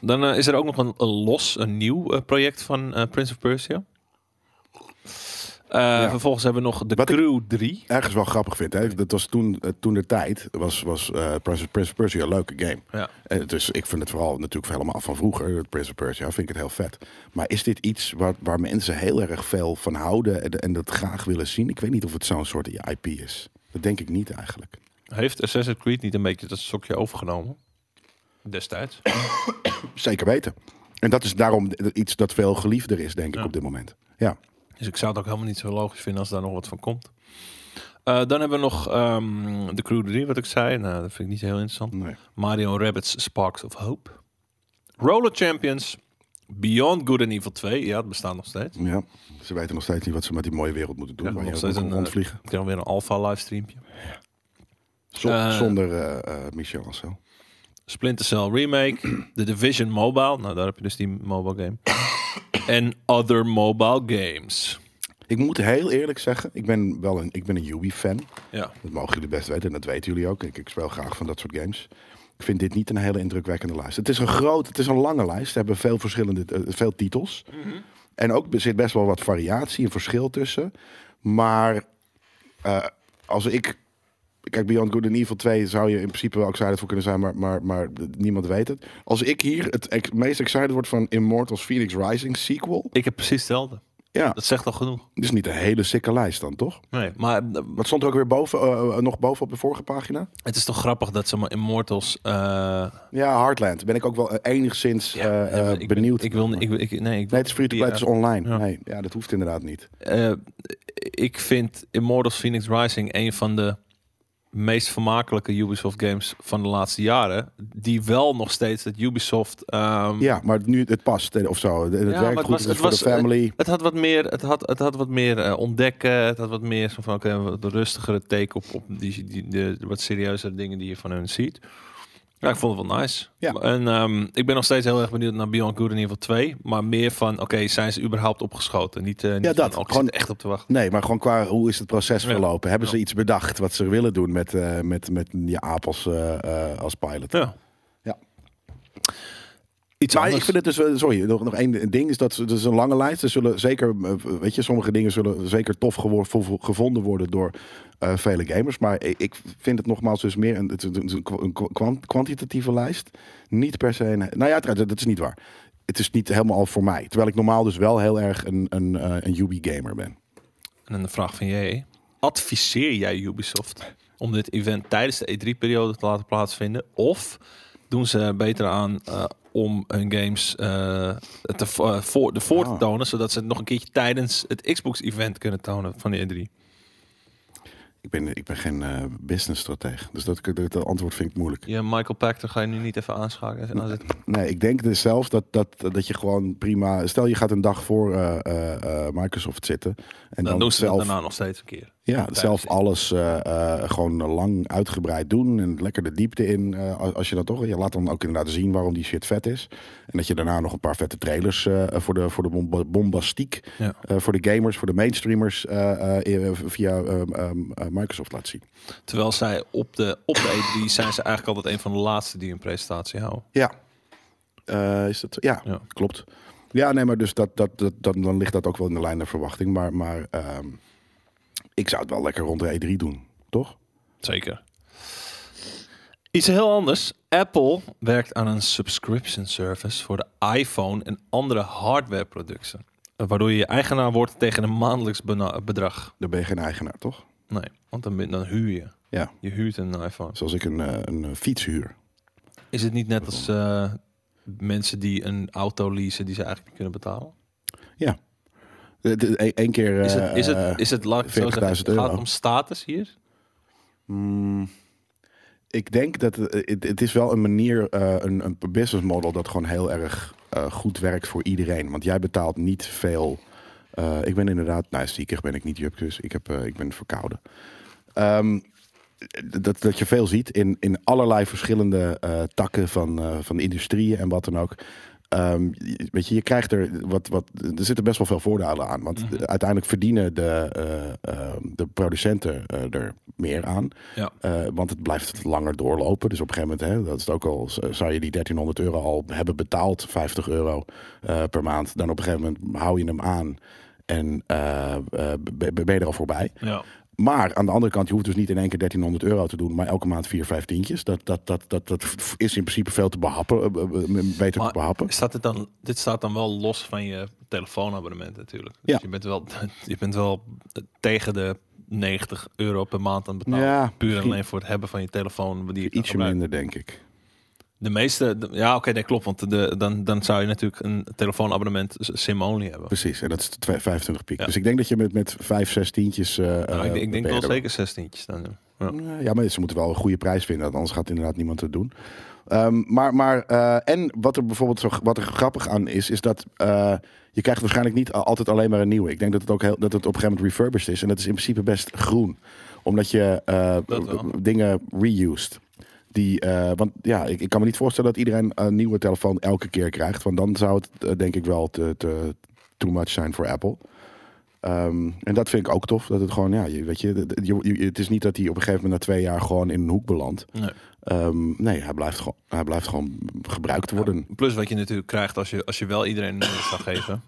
A: Dan eh, is er ook nog een, een los, een nieuw eh, project van eh, Prince of Persia. Eh, Vervolgens hebben we nog de
B: Wat ik-
A: Crew 3.
B: Ergens wel grappig vind. Hè? Dat was toen, eh, toen de tijd, was, was eh, Prince, of- Prince of Persia een leuke game.
A: Ja.
B: Eh, dus ik vind het vooral natuurlijk helemaal van vroeger, het Prince of Persia, vind ik het heel vet. Maar is dit iets waar, waar mensen heel erg veel van houden en, en dat graag willen zien? Ik weet niet of het zo'n soort IP is. Dat denk ik niet eigenlijk.
A: Heeft Assassin's Creed niet een beetje dat sokje overgenomen? Destijds.
B: Zeker weten. En dat is daarom iets dat veel geliefder is, denk ik, op dit moment. Ja.
A: Dus ik zou het ook helemaal niet zo logisch vinden als daar nog wat van komt. Eh, dan hebben we nog ehm, de Crew 3, wat ik zei. Nou, dat vind ik niet heel interessant.
B: Nee.
A: Mario Rabbits Sparks of Hope. Roller Champions. Beyond Good and Evil 2. Ja, het bestaat nog steeds.
B: ja. Ze weten nog steeds niet wat ze met die mooie wereld moeten doen.
A: Ja,
B: waar je
A: nog
B: moet
A: steeds een, eh,
B: rondvliegen.
A: Ik heb weer een alpha livestreampje.
B: Zon-
A: eh,
B: zonder eh, eh, Michel Ancel.
A: Splinter Cell Remake. The Division Mobile. Nou, daar heb je dus die mobile game. en Other Mobile Games.
B: Ik moet heel eerlijk zeggen, ik ben wel een, ik ben een Ubi-fan.
A: Ja.
B: Dat mogen jullie best weten en dat weten jullie ook. Ik, ik speel graag van dat soort games. Ik vind dit niet een hele indrukwekkende lijst. Het is een groot, het is een lange lijst. Ze hebben veel verschillende, eh, veel titels. En ook er zit best wel wat variatie en verschil tussen. Maar eh, als ik... Kijk, Beyond Good and Evil 2 zou je in principe wel excited voor kunnen zijn, maar, maar, maar niemand weet het. Als ik hier het ex- meest excited word van Immortals Phoenix Rising sequel,
A: Ik heb precies hetzelfde.
B: Ja,
A: Dat zegt al genoeg.
B: dus niet een hele sikke lijst dan, toch?
A: Nee, maar eh,
B: Wat stond er ook weer boven, eh, eh, nog boven op de vorige pagina?
A: het is toch grappig dat ze maar Immortals... eh,
B: Ja, Heartland. Ben ik ook wel eh, enigszins
A: Ja,
B: eh,
A: ja, maar
B: eh,
A: ik ben-
B: benieuwd.
A: ik wil niet... Ik, ik, nee, ik,
B: Nee, het is free-to-play, het is online.
A: Ja.
B: Nee, ja, dat hoeft inderdaad niet.
A: Eh, ik vind Immortals Phoenix Rising een van de meest vermakelijke Ubisoft games van de laatste jaren. Die wel nog steeds dat Ubisoft... ehm,
B: Ja, maar nu het past eh, of zo. Het het
A: maar
B: werkt
A: het
B: goed,
A: was-
B: het
A: het
B: is voor
A: was,
B: de
A: eh,
B: family.
A: Het had wat meer, het had, het had wat meer eh, ontdekken. Het had wat meer zo van, oké, een wat rustigere take op, op die, die, de, de wat serieuzere dingen die je van hun ziet. Ja, ik vond het wel nice.
B: Ja.
A: En ehm, ik ben nog steeds heel erg benieuwd naar Beyond Good in ieder geval 2. Maar meer van, oké, zijn ze überhaupt opgeschoten? Niet, eh, niet
B: dat,
A: Van, oh, ik
B: gewoon-
A: zit er echt op te wachten.
B: Nee, maar gewoon qua hoe is het proces
A: Ja.
B: verlopen? Hebben ze
A: Ja.
B: iets bedacht wat ze willen doen met, eh, met, met je apels eh, eh, als pilot?
A: Ja.
B: Ja.
A: Iets
B: Maar
A: anders.
B: ik vind het dus, wel- sorry, nog, nog één ding is dat ze- het is een lange lijst. Er zullen zeker, eh, weet je, sommige dingen zullen zeker tof gewor- vo- vo- gevonden worden door eh, vele gamers. Maar ik, ik vind het nogmaals dus meer een, het is een, kwa- een kwa- kwant- kwantitatieve lijst. Niet per se een, nou ja, trouwens, dat- dat is niet waar. Het is niet helemaal al voor mij. Terwijl ik normaal dus wel heel erg een, een, eh, een UB-gamer ben.
A: En dan de vraag van jij. Adviseer jij Ubisoft om dit event tijdens de E3-periode te laten plaatsvinden? Of doen ze beter aan eh, om hun games eh, te, vo- eh, voor, de voor te
B: Ah.
A: tonen, zodat ze het nog een keertje tijdens het Xbox-event kunnen tonen van de E E3?
B: Ik ben, ik ben geen eh business-stratege. Dus dat, dat, dat antwoord vind ik moeilijk.
A: Ja, Michael Pachter ga je nu niet even aanschakelen. Als het-
B: Nee, ik denk dus zelf dat, dat, dat je gewoon prima... Stel, je gaat een dag voor eh, eh, eh, Microsoft zitten. En
A: dan,
B: dan,
A: doen ze het
B: zelf,
A: daarna nog steeds een keer.
B: ja, zelf alles eh, eh, gewoon lang uitgebreid doen. En lekker de diepte in. eh, als- als je dat toch... Je laat dan ook inderdaad zien waarom die shit vet is. En dat je daarna nog een paar vette trailers eh, voor, de, voor de bomba- bombastiek...
A: Ja.
B: eh, voor de gamers, voor de mainstreamers... eh, eh, via ehm, ehm, eh, Microsoft laat zien.
A: Terwijl zij op de, op de E3 zijn ze eigenlijk altijd een van de laatste die een presentatie houden.
B: Ja. Eh, is dat, ja,
A: Ja.
B: klopt. Ja, nee, maar dus dat, dat, dat, dan, dan ligt dat ook wel in de lijn der verwachting. Maar, maar ehm, ik zou het wel lekker rond de E3 doen, toch?
A: Zeker. Iets heel anders. Apple werkt aan een subscription service voor de iPhone en andere hardwareproducten. Waardoor je je eigenaar wordt tegen een maandelijks bena- bedrag.
B: Dan ben je geen eigenaar, toch?
A: Nee, want dan, ben- dan huur je.
B: Ja.
A: Je huurt een iPhone.
B: Zoals ik een, eh, een eh, fiets huur.
A: Is het niet net als eh, mensen die een auto leasen die ze eigenlijk niet kunnen betalen?
B: Eh, Eén e, keer...
A: Is het, is
B: eh,
A: het, is het, laat ik het zo
B: 40.000
A: zeggen, het gaat
B: euro.
A: om status hier?
B: mm, ik denk dat eh, het, het is wel een manier, eh, een, een business model dat gewoon heel erg eh, goed werkt voor iedereen. Want jij betaalt niet veel. Eh, ik ben inderdaad, nou ziekig ben ik niet, Jup, dus ik, heb, eh, ik ben verkouden. Ehm, dat, dat je veel ziet in, in allerlei verschillende eh, takken van, eh, van de industrieën en wat dan ook. Ehm, je- weet je, je krijgt er wat, wat. Er zitten best wel veel voordelen aan. Want
A: Mhm.
B: uiteindelijk verdienen de, eh, eh, de producenten eh, er meer aan.
A: Ja.
B: Eh, want het blijft langer doorlopen. Dus op een gegeven moment, hè, dat is het ook al, z- zou je die 1300 euro al hebben betaald, 50 euro eh, per maand. Dan op een gegeven moment hou je hem aan en eh, eh, ben ben je er al voorbij.
A: Ja.
B: Maar aan de andere kant, je hoeft dus niet in één keer 1300 euro te doen, maar elke maand 4, 5 tientjes. Dat, dat, dat, dat, dat is in principe veel te behappen, eh, eh, eh, beter
A: Maar
B: te behappen.
A: Staat het dan, dit staat dan wel los van je telefoonabonnement natuurlijk. Dus
B: Ja.
A: je, bent wel, je bent wel tegen de 90 euro per maand aan het betalen.
B: Ja,
A: Puur en
B: misschien.
A: alleen voor het hebben van je telefoon. Die je kan
B: Ietsje
A: gebruiken.
B: minder, denk ik.
A: De meeste, de- ja oké, nee, klopt. Want de, dan, dan zou je natuurlijk een telefoonabonnement sim-only hebben.
B: Precies, en dat is tw- 25 piek.
A: Ja.
B: Dus ik denk dat je met, met 5, 6 tientjes... eh,
A: Nou, ik,
B: eh,
A: ik
B: ben
A: denk
B: je
A: wel
B: er
A: zeker 16 dan. Ja.
B: Eh, Ja, maar ze moeten wel een goede prijs vinden, anders gaat inderdaad niemand het doen. Ehm, maar maar eh, en wat er bijvoorbeeld zo, wat er grappig aan is, is dat eh, je krijgt waarschijnlijk niet al- altijd alleen maar een nieuwe. Ik denk dat het ook heel, dat het op een gegeven moment refurbished is. En dat is in principe best groen, omdat je eh,
A: Dat wel.
B: dingen reused. Die, eh, want ja, ik, ik kan me niet voorstellen dat iedereen een nieuwe telefoon elke keer krijgt. Want dan zou het eh, denk ik wel te, te, too much zijn voor Apple. Ehm, en dat vind ik ook tof. Dat het gewoon, ja, je, weet je, dat- je, je- het is niet dat hij op een gegeven moment na twee jaar gewoon in een hoek belandt.
A: Nee.
B: Ehm, nee, hij blijft, gewoon, hij blijft gewoon gebruikt worden.
A: Plus wat je natuurlijk krijgt als je, als je wel iedereen een nummer zou geven...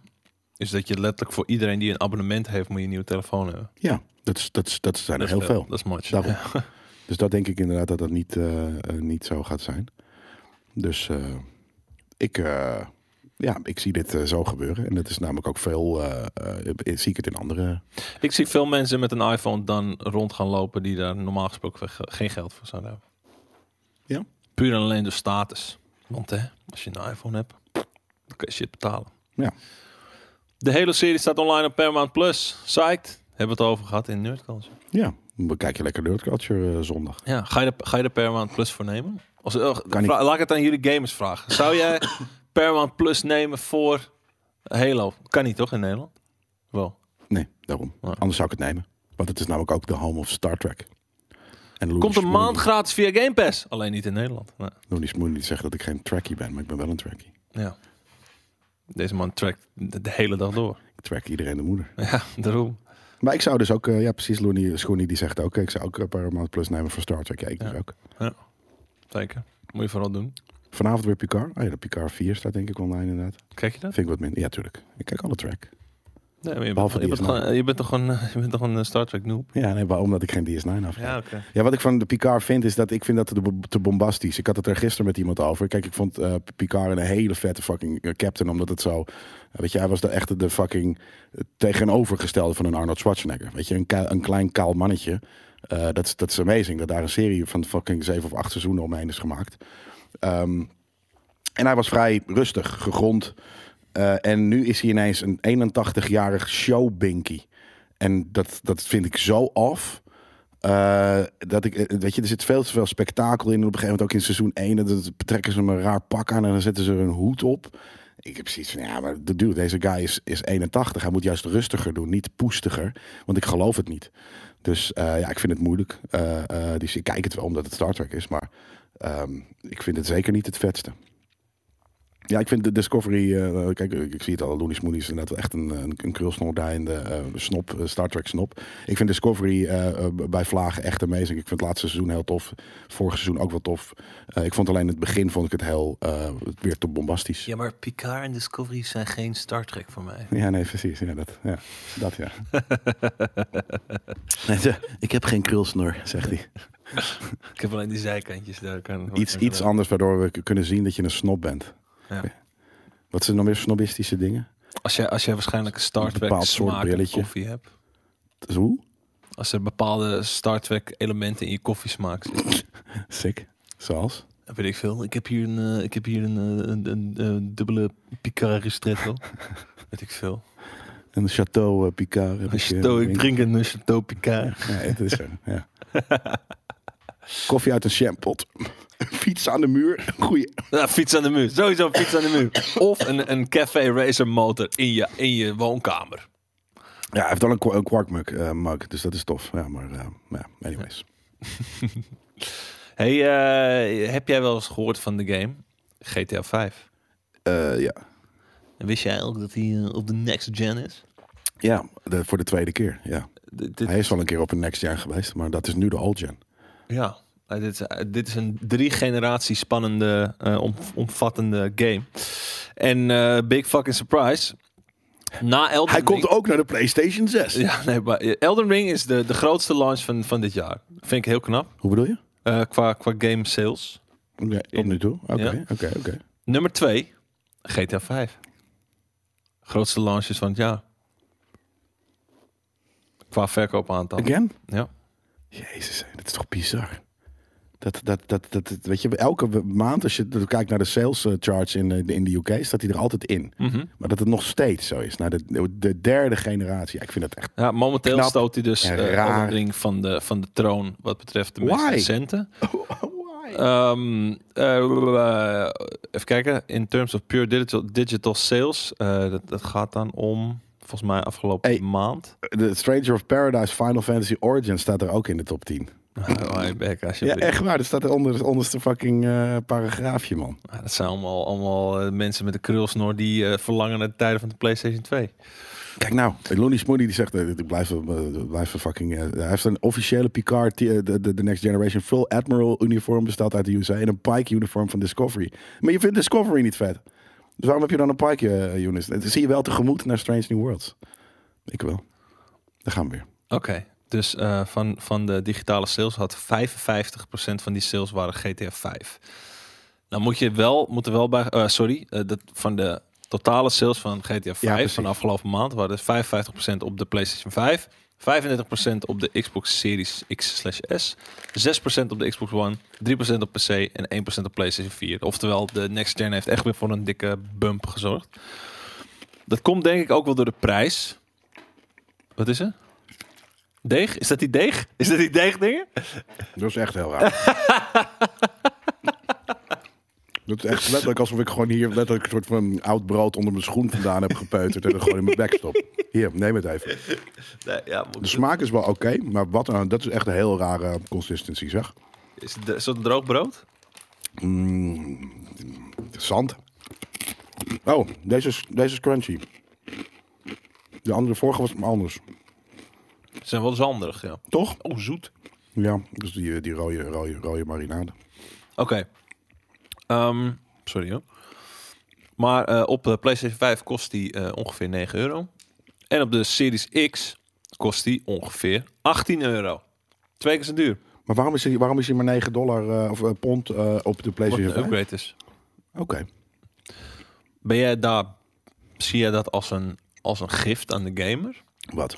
A: is dat je letterlijk voor iedereen die een abonnement heeft... moet je een nieuwe telefoon hebben.
B: Ja, dat, is, dat, is, dat zijn
A: Dat
B: er
A: is
B: heel veel.
A: Dat is much.
B: Daarom. Dus dat denk ik inderdaad dat dat niet, eh, eh, niet zo gaat zijn. Dus eh, ik, eh, Ja, ik zie dit eh, zo gebeuren. En dat is namelijk ook veel. eh, eh, zie ik het in andere.
A: Ik zie veel mensen met een iPhone dan rond gaan lopen die daar normaal gesproken ge- geen geld voor zouden hebben.
B: Ja.
A: Puur en alleen de status. Want hè, als je een iPhone hebt, dan kun je shit betalen.
B: Ja.
A: De hele serie staat online op Paramount Plus. Psyched. Hebben we het over gehad in Nerdculture.
B: Ja, dan bekijk je lekker Nerd Culture eh, zondag.
A: Ja, ga je, de, ga je de Paramount Plus voor nemen? Als, eh,
B: Kan niet.
A: vra- laat ik het aan jullie gamers vragen. Zou jij Paramount Plus nemen voor Halo? Kan niet toch in Nederland? Wel.
B: Nee, daarom.
A: Ja.
B: Anders zou ik het nemen. Want het is namelijk ook de home of Star Trek. En Looney
A: Komt een
B: Smooney-
A: maand gratis via Game Pass. Alleen niet in Nederland. Nee.
B: Looney Smooney die zegt dat ik geen trackie ben, maar ik ben wel een trackie.
A: Ja. Deze man trekt de de hele dag door.
B: Ik track iedereen de moeder.
A: Ja, daarom.
B: Maar ik zou dus ook, eh, ja precies, Looney Smooney die zegt ook, eh, ik zou ook eh, Paramount Plus nemen voor Star Trek. Ja, ik
A: Ja.
B: dus ook.
A: Zeker. Moet je vooral doen.
B: Vanavond weer Picard. Oh ja, de Picard 4 staat denk ik online inderdaad.
A: Kijk je dat?
B: Vind ik wat minder. Ja, tuurlijk. Ik kijk alle track.
A: Nee, maar je, bent,
B: Behalve
A: je, bent
B: DS9.
A: gewoon, je bent toch gewoon, eh, je bent toch een eh, Star Trek noob?
B: Ja, nee, waarom? Omdat ik geen DS9 afkijk.
A: Ja, oké.
B: Ja, wat ik van de Picard vind, is dat ik vind dat te bo- te bombastisch. Ik had het er gisteren met iemand over. Kijk, ik vond eh, Picard een hele vette fucking eh, captain, omdat het zo... eh, weet je, hij was de echte de fucking eh, tegenovergestelde van een Arnold Schwarzenegger. Weet je, een, kei- een klein kaal mannetje. Eh, Dat is dat is amazing, dat daar een serie van fucking zeven of acht seizoenen omheen is gemaakt. Ehm, en hij was vrij rustig, gegrond. Eh, en nu is hij ineens een 81-jarig showbinky. En dat, dat vind ik zo off. Eh, dat ik, eh, weet je, er zit veel te veel spektakel in. En op een gegeven moment ook in seizoen 1. Dat, dat trekken ze hem een raar pak aan en dan zetten ze er een hoed op. Ik heb precies van, ja, maar dude, deze guy is, is 81. Hij moet juist rustiger doen, niet poestiger. Want ik geloof het niet. Dus eh, ja, ik vind het moeilijk. Eh, eh, dus ik kijk het wel omdat het Star Trek is. Maar ehm, ik vind het zeker niet het vetste. Ja, ik vind de Discovery... eh, kijk, ik, ik zie het al. Looney Smooney is inderdaad wel echt een, een, een krulsnordijende eh, snop. eh, Star Trek snop. Ik vind Discovery eh, eh, bij Vlagen echt amazing. Ik vind het laatste seizoen heel tof. Vorig seizoen ook wel tof. Eh, ik vond alleen het begin vond ik het heel eh, weer te bombastisch.
A: Ja, maar Picard en Discovery zijn geen Star Trek voor mij.
B: Ja, nee, precies. Ja, dat, ja. Dat, ja. Nee, ze- ik heb geen krulsnor, zegt hij.
A: Ik heb alleen die zijkantjes daar. Kan,
B: Iets, iets
A: aan.
B: anders waardoor we k- kunnen zien dat je een snob bent.
A: Ja.
B: Wat zijn nog meer snobistische dingen?
A: Als jij, als jij waarschijnlijk een Star
B: Een
A: Trek
B: bepaald soort
A: smaak in
B: brilletje.
A: koffie hebt.
B: Zo?
A: Als er bepaalde Star Trek elementen in je koffiesmaak zitten.
B: Sick. Zoals?
A: Dan weet ik veel. Ik heb hier een, eh, ik heb hier een, eh, een, een, eh, dubbele Picard ristretto. weet ik veel.
B: Een Chateau eh, Picard. heb
A: Een
B: ik, eh,
A: chateau, ik
B: drink.
A: drink een chateau Picard.
B: Ja, het is er. Ja. Koffie uit een shampot. Fiets aan de muur. Goeie.
A: Ja, fiets aan de muur. Sowieso fiets aan de muur. Of een, een Café Racer motor in je, in je woonkamer.
B: Ja, hij heeft wel een, kwa- een kwarkmug, eh, mug, dus dat is tof. Ja, maar eh, ja, anyways.
A: Hey, eh, heb jij wel eens gehoord van de game GTA 5?
B: Eh, ja.
A: En wist jij ook dat hij eh, op de next gen is?
B: Ja, de- voor de tweede keer. Ja.
A: Dit- dit-
B: Hij is al een keer op een next gen geweest, maar dat is nu de old gen.
A: ja, Eh, dit, is, eh, dit is een drie generatie spannende, eh, om- omvattende game. En eh, big fucking surprise. Na Elden
B: Hij
A: Ring-
B: komt ook naar de PlayStation 6.
A: Ja, nee, maar eh, Elden Ring is de, de grootste launch van, van dit jaar. Vind ik heel knap.
B: Hoe bedoel je?
A: eh, qua, qua game sales.
B: Oké, tot nu toe. Oké,
A: Ja.
B: oké, oké.
A: Nummer 2, GTA 5. Grootste launches van het jaar. Qua verkoopaantal.
B: Again?
A: Ja.
B: Jezus, hé, dat is toch bizar. Dat, dat, dat, dat, dat- weet je, elke we- maand als je kijkt naar de sales eh, charts in, eh, de- in de UK, staat hij er altijd in. Maar dat het nog steeds zo is. Naar de, de derde generatie. Ja, ik vind dat echt...
A: ja momenteel
B: Knap
A: stoot hij dus
B: en
A: eh,
B: raar.
A: Elden Ring van de, van de troon wat betreft de meest
B: Why?
A: recente.
B: Why?
A: Ehm, eh, eh, even kijken. In terms of pure digital, digital sales. eh, dat, dat gaat dan om, volgens mij afgelopen
B: Hey.
A: maand.
B: The Eh, Stranger of Paradise Final Fantasy Origin staat er ook in de top 10.
A: Oh, hey, Beck,
B: Ja,
A: alsjeblieft.
B: echt waar. Dat staat er onder het onderste fucking eh, paragraafje, man.
A: Ja, dat zijn allemaal, allemaal eh, mensen met een krulsnor die eh, verlangen naar de tijden van de PlayStation 2.
B: Kijk nou, Lonnie Smoody die zegt, eh, ik blijf, eh, blijf een fucking... eh, hij heeft een officiële Picard, eh, de, de, de Next Generation Full Admiral uniform besteld uit de USA en een Pike uniform van Discovery. Maar je vindt Discovery niet vet. Dus waarom heb je dan een Pike eh, uniform? Dat zie je wel tegemoet naar Strange New Worlds. Ik wel. Daar gaan we weer.
A: Oké, dus eh, van, van de digitale sales had 55% van die sales waren GTA 5. Nou moet je wel, moet er wel bij, eh, sorry, eh, dat van de totale sales van GTA 5
B: precies.
A: van de afgelopen maand waren dus 55% op de PlayStation 5, 35% op de Xbox Series X slash S, 6% op de Xbox One, 3% op PC en 1% op PlayStation 4. Oftewel, de next gen heeft echt weer voor een dikke bump gezorgd. Dat komt denk ik ook wel door de prijs. Wat is er? Deeg? Is dat die deeg? Is dat die deegdingen?
B: Dat is echt heel raar. Dat is echt letterlijk alsof ik gewoon hier letterlijk een soort van oud brood onder mijn schoen vandaan heb gepeuterd en er gewoon in mijn bek stop. Hier, neem het even.
A: Nee, ja, moet
B: De smaak is wel oké, maar wat een, dat is echt een heel rare consistency, zeg.
A: Is, het, is dat een droog brood?
B: Mm, zand. Oh, deze is, deze is crunchy. De andere vorige was anders,
A: Ze zijn wel zanderig, ja.
B: toch?
A: Oh, zoet.
B: Ja, dus die, die rode, rode, rode marinade.
A: Oké. Ehm, sorry hoor. Maar eh, op de PlayStation 5 kost die eh, ongeveer 9 euro. En op de Series X kost die ongeveer 18 euro. Twee keer zo duur.
B: Maar waarom is hij, waarom is hij maar 9 dollar eh, of eh, pond eh, op de
A: Wat een
B: PlayStation 5? Oké.
A: upgrade is. Ben jij daar... Zie jij dat als een, als een gift aan de gamer?
B: Wat?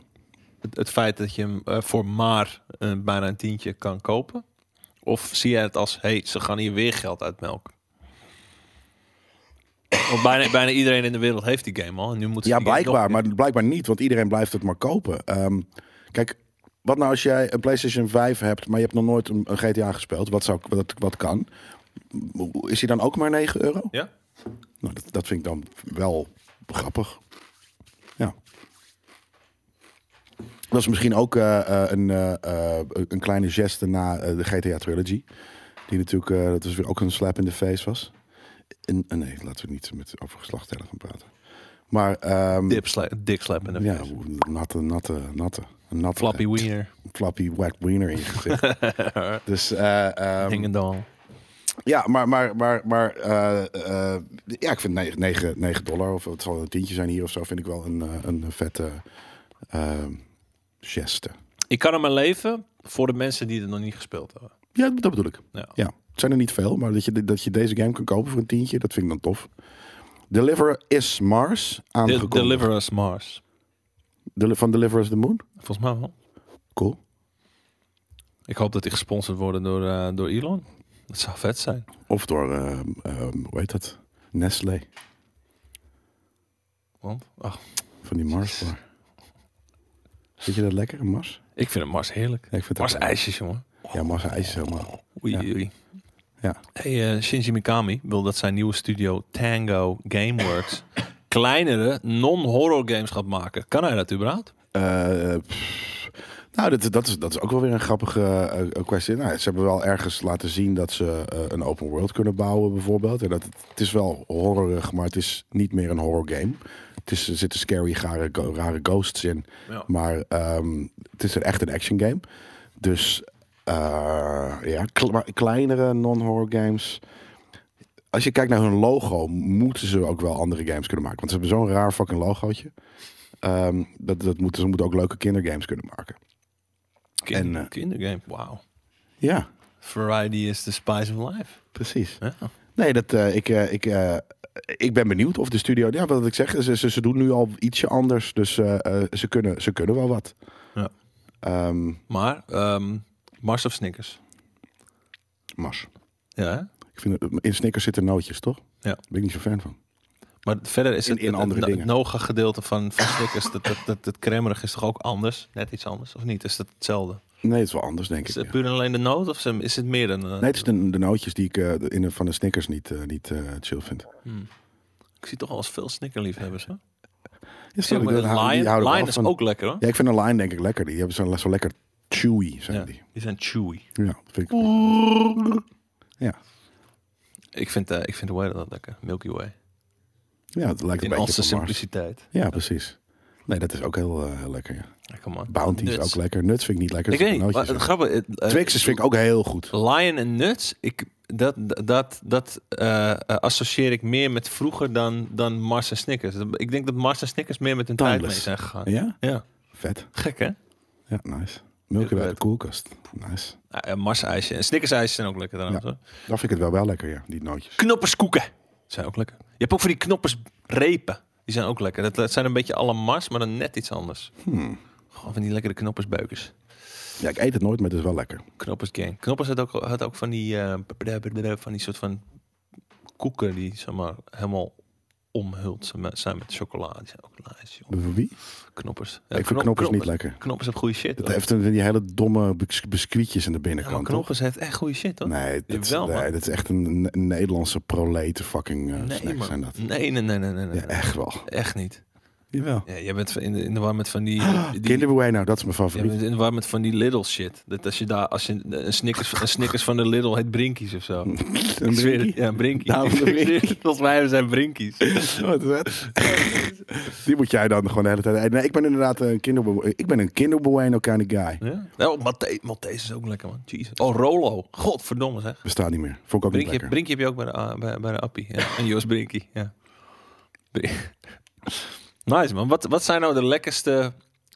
A: Het, het feit dat je hem eh, voor maar eh, bijna een tientje kan kopen? Of zie jij het als... hey, ze gaan hier weer geld uitmelken? Want bijna, bijna iedereen in de wereld heeft die game al. En nu moeten ze
B: Ja,
A: die game nog
B: blijkbaar, maar blijkbaar niet, want iedereen blijft het maar kopen. Ehm, kijk, wat nou als jij een PlayStation 5 hebt, maar je hebt nog nooit een, een GTA gespeeld? Wat, zou, wat, wat kan? Is hij dan ook maar 9 euro?
A: Ja?
B: Nou, dat, dat vind ik dan wel grappig. Ja. Dat is misschien ook eh, eh, een, eh, eh, een kleine geste na eh, de GTA Trilogy. Die natuurlijk, eh, dat is weer ook een slap in de face was. En, en nee, laten we niet met over geslachtstellen gaan praten. Maar ehm,
A: Dip sla- dik slap in de
B: ja,
A: face.
B: natte, natte, natte. Een natte
A: Flappy wiener.
B: flappy wet wiener in je gezicht. dus eh, ehm,
A: Ding en dong.
B: ja, maar, maar, maar, maar eh, eh, ja, ik vind 9, 9, dollar of het zal een tientje zijn hier of zo, vind ik wel een, eh, een vette eh, geste.
A: Ik kan hem mijn leven voor de mensen die het nog niet gespeeld hebben.
B: Ja, dat bedoel ik.
A: Ja.
B: Ja, het zijn er niet veel, maar dat je, dat je deze game kan kopen voor een tientje, dat vind ik dan tof. Deliver is Mars
A: De-
B: aangekondigd.
A: Deliver us Mars.
B: Deli- van Deliver is the Moon.
A: Volgens mij wel.
B: Cool.
A: Ik hoop dat die gesponsord worden door, eh, door Elon. Dat zou vet zijn.
B: Of door, eh, eh, hoe heet dat? Nestlé.
A: Want, ach,
B: Van die Marsbar. Vind je dat lekker, een Mars?
A: ik vind het Mars heerlijk.
B: Ja, ik vind het
A: Mars
B: ook-
A: ijsjes, jongen.
B: Ja, Mars ijs is helemaal.
A: Oei,
B: Ja.
A: oei.
B: Ja.
A: Hey, eh, Shinji Mikami wil dat zijn nieuwe studio Tango Gameworks kleinere non-horror games gaat maken. Kan hij dat überhaupt?
B: Eh, pff. nou, dat, dat, is, dat is ook wel weer een grappige eh, eh, kwestie. Nou, ze hebben wel ergens laten zien dat ze eh, een open world kunnen bouwen, bijvoorbeeld. En dat het, het is wel horrorig, maar het is niet meer een horror game. Het is, er zitten scary, rare, go- rare ghosts in.
A: Ja.
B: Maar ehm, het is een- echt een action game. Dus eh, ja, kle- maar kleinere non-horror games. Als je kijkt naar hun logo, moeten ze ook wel andere games kunnen maken. Want ze hebben zo'n raar fucking logootje. Ehm, dat, dat moeten, ze moeten ook leuke kindergames kunnen maken.
A: Kinder,
B: En, eh,
A: kindergame, wauw.
B: Ja,
A: Variety is the spice of life.
B: precies.
A: Ja.
B: Nee, dat, eh, ik, eh, ik, eh, ik ben benieuwd of de studio... Ja, wat ik zeg, ze, ze, ze doen nu al ietsje anders. Dus eh, eh, ze, kunnen, ze kunnen wel wat.
A: Ja.
B: Ehm,
A: Maar ehm, Mars of Snickers?
B: Mars.
A: Ja, hè?
B: Ik vind, het- in Snickers zitten nootjes, toch?
A: Ja.
B: Daar ben ik niet zo fan van.
A: maar verder is
B: In-
A: het,
B: in
A: het- het-
B: andere
A: het,
B: dingen.
A: Noga-gedeelte van, van Snickers, dat, dat, dat, dat cremmerig is toch ook anders? Net iets anders, of niet? Is dat hetzelfde?
B: Nee, het is wel anders,
A: Is
B: denk ik.
A: het
B: ja.
A: puur en alleen de noot, of zijn- is het meer dan... eh,
B: Nee, het is de, de nootjes die ik eh, de- in, de- van de Snickers niet, eh, niet eh, chill vind.
A: Ik zie toch al eens veel Snickerliefhebbers, hè?
B: Is
A: Ja, maar
B: hou-
A: lion
B: hou ik wel
A: lion is
B: van.
A: ook lekker, hoor.
B: Ja, ik vind een line denk ik lekker. Die hebben zo, zo lekker chewy, zijn
A: Ja,
B: die.
A: die zijn chewy.
B: Ja, dat vind ik. Ja.
A: Ik vind, eh, ik vind de Way dat lekker. Milky Way.
B: ja, het lijkt een
A: In al
B: beetje
A: zijn
B: op Mars.
A: simpliciteit.
B: Ja, precies. Nee, dat is ook heel, eh, heel lekker, ja.
A: Ja, Come on.
B: Bounty is
A: Nuts.
B: ook lekker. Nuts vind ik niet lekker.
A: Ik
B: er
A: weet
B: zitten
A: niet, maar het
B: nootjes
A: grappige... het,
B: in.
A: eh,
B: Twixes vind ik ook heel goed.
A: Lion en Nuts, ik, dat, dat, dat eh, eh, associeer ik meer met vroeger dan, dan Mars en Snickers. Ik denk dat Mars en Snickers meer met hun tijd mee
B: Timeless.
A: zijn gegaan. Ja,
B: Ja? Vet.
A: gek hè?
B: Ja, nice. Milky Way uit de koelkast. Nice.
A: Ah, ja, Mars ijsje en Snickers ijsjes zijn ook lekker trouwens. hoor.
B: Dat vind ik het wel, wel lekker, ja. Die nootjes.
A: Knopperskoeken zijn ook lekker. Je hebt ook van die knoppers Repen. Die zijn ook lekker. Dat, dat zijn een beetje alle mars, maar dan net iets anders.
B: Hmm.
A: Gewoon van die lekkere knoppersbeukers.
B: Ja, ik eet het nooit, maar het is wel lekker.
A: Knoppers gang. Knoppers had ook, had ook van die eh, bla- bla- bla- van die soort van koeken die zeg maar helemaal omhuld zijn met- zijn met chocolade. Die zijn ook nice, joh.
B: Wie?
A: Knoppers.
B: ik vind knoppers niet lekker.
A: Knoppers hebben goede shit.
B: Het
A: hoor.
B: heeft een van die hele domme bis- biscuitjes aan de
A: Ja, maar
B: binnenkant. toch?
A: knoppers heeft echt goede shit, hoor.
B: Nee, dat, is-
A: Jawel, man.
B: nee, dat is echt een, een Nederlandse proleten fucking eh
A: nee,
B: snacks
A: man.
B: zijn dat.
A: Nee, nee, nee, nee, nee. nee,
B: Ja,
A: nee.
B: echt wel.
A: Echt niet.
B: Jawel.
A: Ja, jij bent in de, in de war met van die... die
B: Ah, Kinder Bueno, dat is mijn
A: jij
B: favoriet.
A: bent in de war met van die Lidl shit. Dat als je daar, als je een Snickers, een Snickers van de Lidl heet Brinkies of zo.
B: Een
A: Ik zweer het.
B: drinkie?
A: Ja, Brinkies.
B: Nou, van de Brinkies.
A: Volgens mij zijn Brinkies.
B: Wat is dat? Die moet jij dan gewoon de hele tijd eten. Nee, ik ben inderdaad een Kinder Bueno- Ik ben een Kinder Bueno kind of guy.
A: Ja? Nou, Maltese, Maltese is ook lekker, man. Jezus. Oh, Rolo. Godverdomme, zeg.
B: Bestaat niet meer. Vond ik ook niet
A: Brinkje,
B: lekker.
A: Brinkje heb je ook bij de, ah, bij, bij de Appie. Ja. En Jos Brinkie. Ja. Brin- Nice, man. Wat, wat zijn nou de lekkerste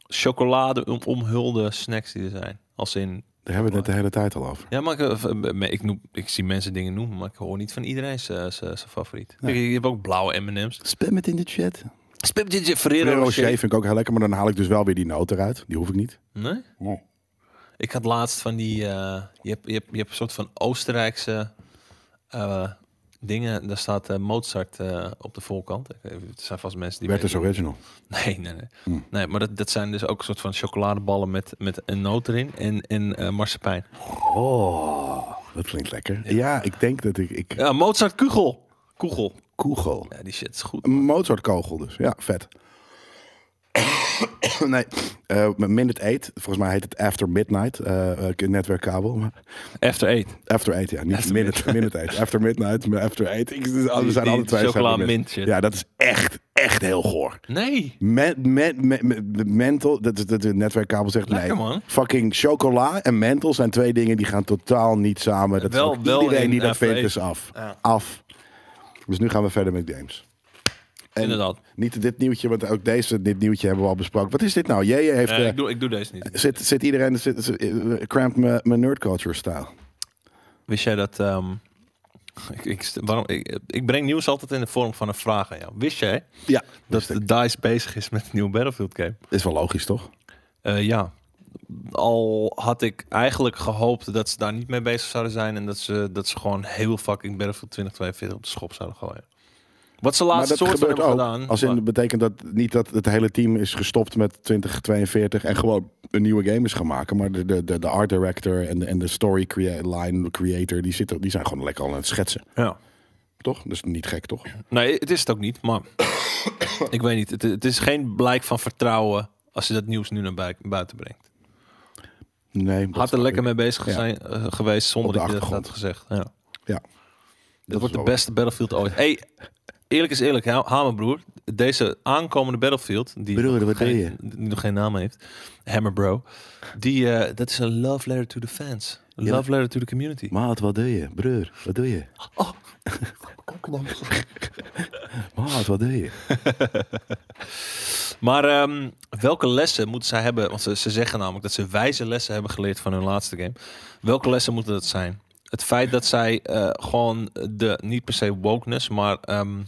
A: chocolade om- omhulde snacks die er zijn? Als in...
B: Daar hebben we het net de hele tijd al over.
A: Ja, maar ik, eh, ik, noem, ik zie mensen dingen noemen, maar ik hoor niet van iedereen zijn zijn- zijn favoriet. Kijk, je hebt ook blauwe M&M's.
B: Spam het in de chat.
A: Spip Ginger
B: Ferrero
A: Ferrero
B: Rocher
A: Rocher.
B: vind ik ook heel lekker, maar dan haal ik dus wel weer die noot eruit. Die hoef ik niet.
A: Nee?
B: Oh,
A: Ik had laatst van die. eh, je, hebt, je, hebt, je hebt een soort van Oostenrijkse eh, dingen. Daar staat eh, Mozart eh, op de voorkant. Ik weet- Er zijn vast mensen die.
B: Werd dus
A: weten-
B: original.
A: Nee, nee, nee. nee maar dat, dat zijn dus ook een soort van chocoladeballen met, met een noot erin en, en eh marsepein.
B: Oh, dat klinkt lekker. Ja, ik denk dat ik... ik
A: Ja, Mozart Kugel. Kugel.
B: Kugel.
A: Ja, die shit is goed.
B: Een Mozartkogel dus. Ja, vet. nee, eh, Minute 8. Volgens mij heet het After Midnight. eh eh, netwerkkabel. Maar
A: After Eight.
B: After Eight, ja. Niet
A: After
B: minute, minute Eight. After Midnight, maar After Eight. Ik, we zijn
A: die
B: alle twee...
A: chocola
B: zijn we-
A: mint shit.
B: Ja, dat is echt, echt heel goor.
A: Nee.
B: Met, met, met, met- de mental, dat is dat de netwerkkabel zegt
A: Lekker,
B: nee.
A: man.
B: Fucking chocola en mental zijn twee dingen die gaan totaal niet samen. Dat
A: Wel-
B: wel,
A: wel
B: iedereen
A: in
B: die dat
A: After
B: vindt
A: Eight.
B: is af.
A: Ja.
B: Af. Dus nu gaan we verder met games. En
A: Inderdaad.
B: Niet dit nieuwtje, want ook deze dit nieuwtje hebben we al besproken. Wat is dit nou? Jij heeft
A: Eh,
B: eh,
A: ik, doe, ik doe deze niet.
B: zit, zit iedereen zit, zit- eh, cramped me- mijn nerd culture style.
A: Wist jij dat... ehm, ik, ik, waarom, ik, ik breng nieuws altijd in de vorm van een vraag aan jou. Wist jij
B: Ja,
A: dat de DICE bezig is met een nieuwe Battlefield game.
B: is wel logisch toch?
A: Eh, ja, al had ik eigenlijk gehoopt dat ze daar niet mee bezig zouden zijn... en dat ze, dat ze gewoon heel fucking Battlefield 2042 op de schop zouden gooien. Wat ze
B: Maar
A: laatst
B: dat
A: soort van
B: gebeurt
A: hebben
B: ook.
A: gedaan...
B: als in, betekent dat niet dat het hele team is gestopt met 2042 en gewoon een nieuwe game is gaan maken. Maar de, de, de, de art director en de, en de story crea- line creator, die, zitten, die zijn gewoon lekker al aan het schetsen.
A: ja.
B: Toch? Dus niet gek, toch?
A: Nee, het is het ook niet, maar... ik weet niet, het, het is geen blijk van vertrouwen... als je dat nieuws nu naar bui- buiten brengt.
B: Nee. dat
A: Had er
B: snap
A: lekker
B: ik.
A: mee bezig
B: Ja.
A: zijn, eh, geweest zonder
B: Op de
A: dat je dat
B: achtergrond.
A: had gezegd. Ja.
B: Ja.
A: Dat
B: is
A: wordt de
B: wel-
A: beste Battlefield ooit. Hey, eerlijk is eerlijk, Ha- Hamerbroer. Deze aankomende Battlefield, die,
B: Broer,
A: nog
B: wat
A: geen,
B: deed je?
A: die nog geen naam heeft, Hammerbro, die, eh, dat is een love letter to the fans. Een
B: Ja.
A: Love letter to the community.
B: Maat, wat doe je? Broer, wat doe je? Maat, wat doe je?
A: Maar ehm, welke lessen moeten zij hebben? Want ze, ze zeggen namelijk dat ze wijze lessen hebben geleerd van hun laatste game. Welke lessen moeten dat zijn? Het feit dat zij eh, gewoon de, niet per se wokeness, maar ehm,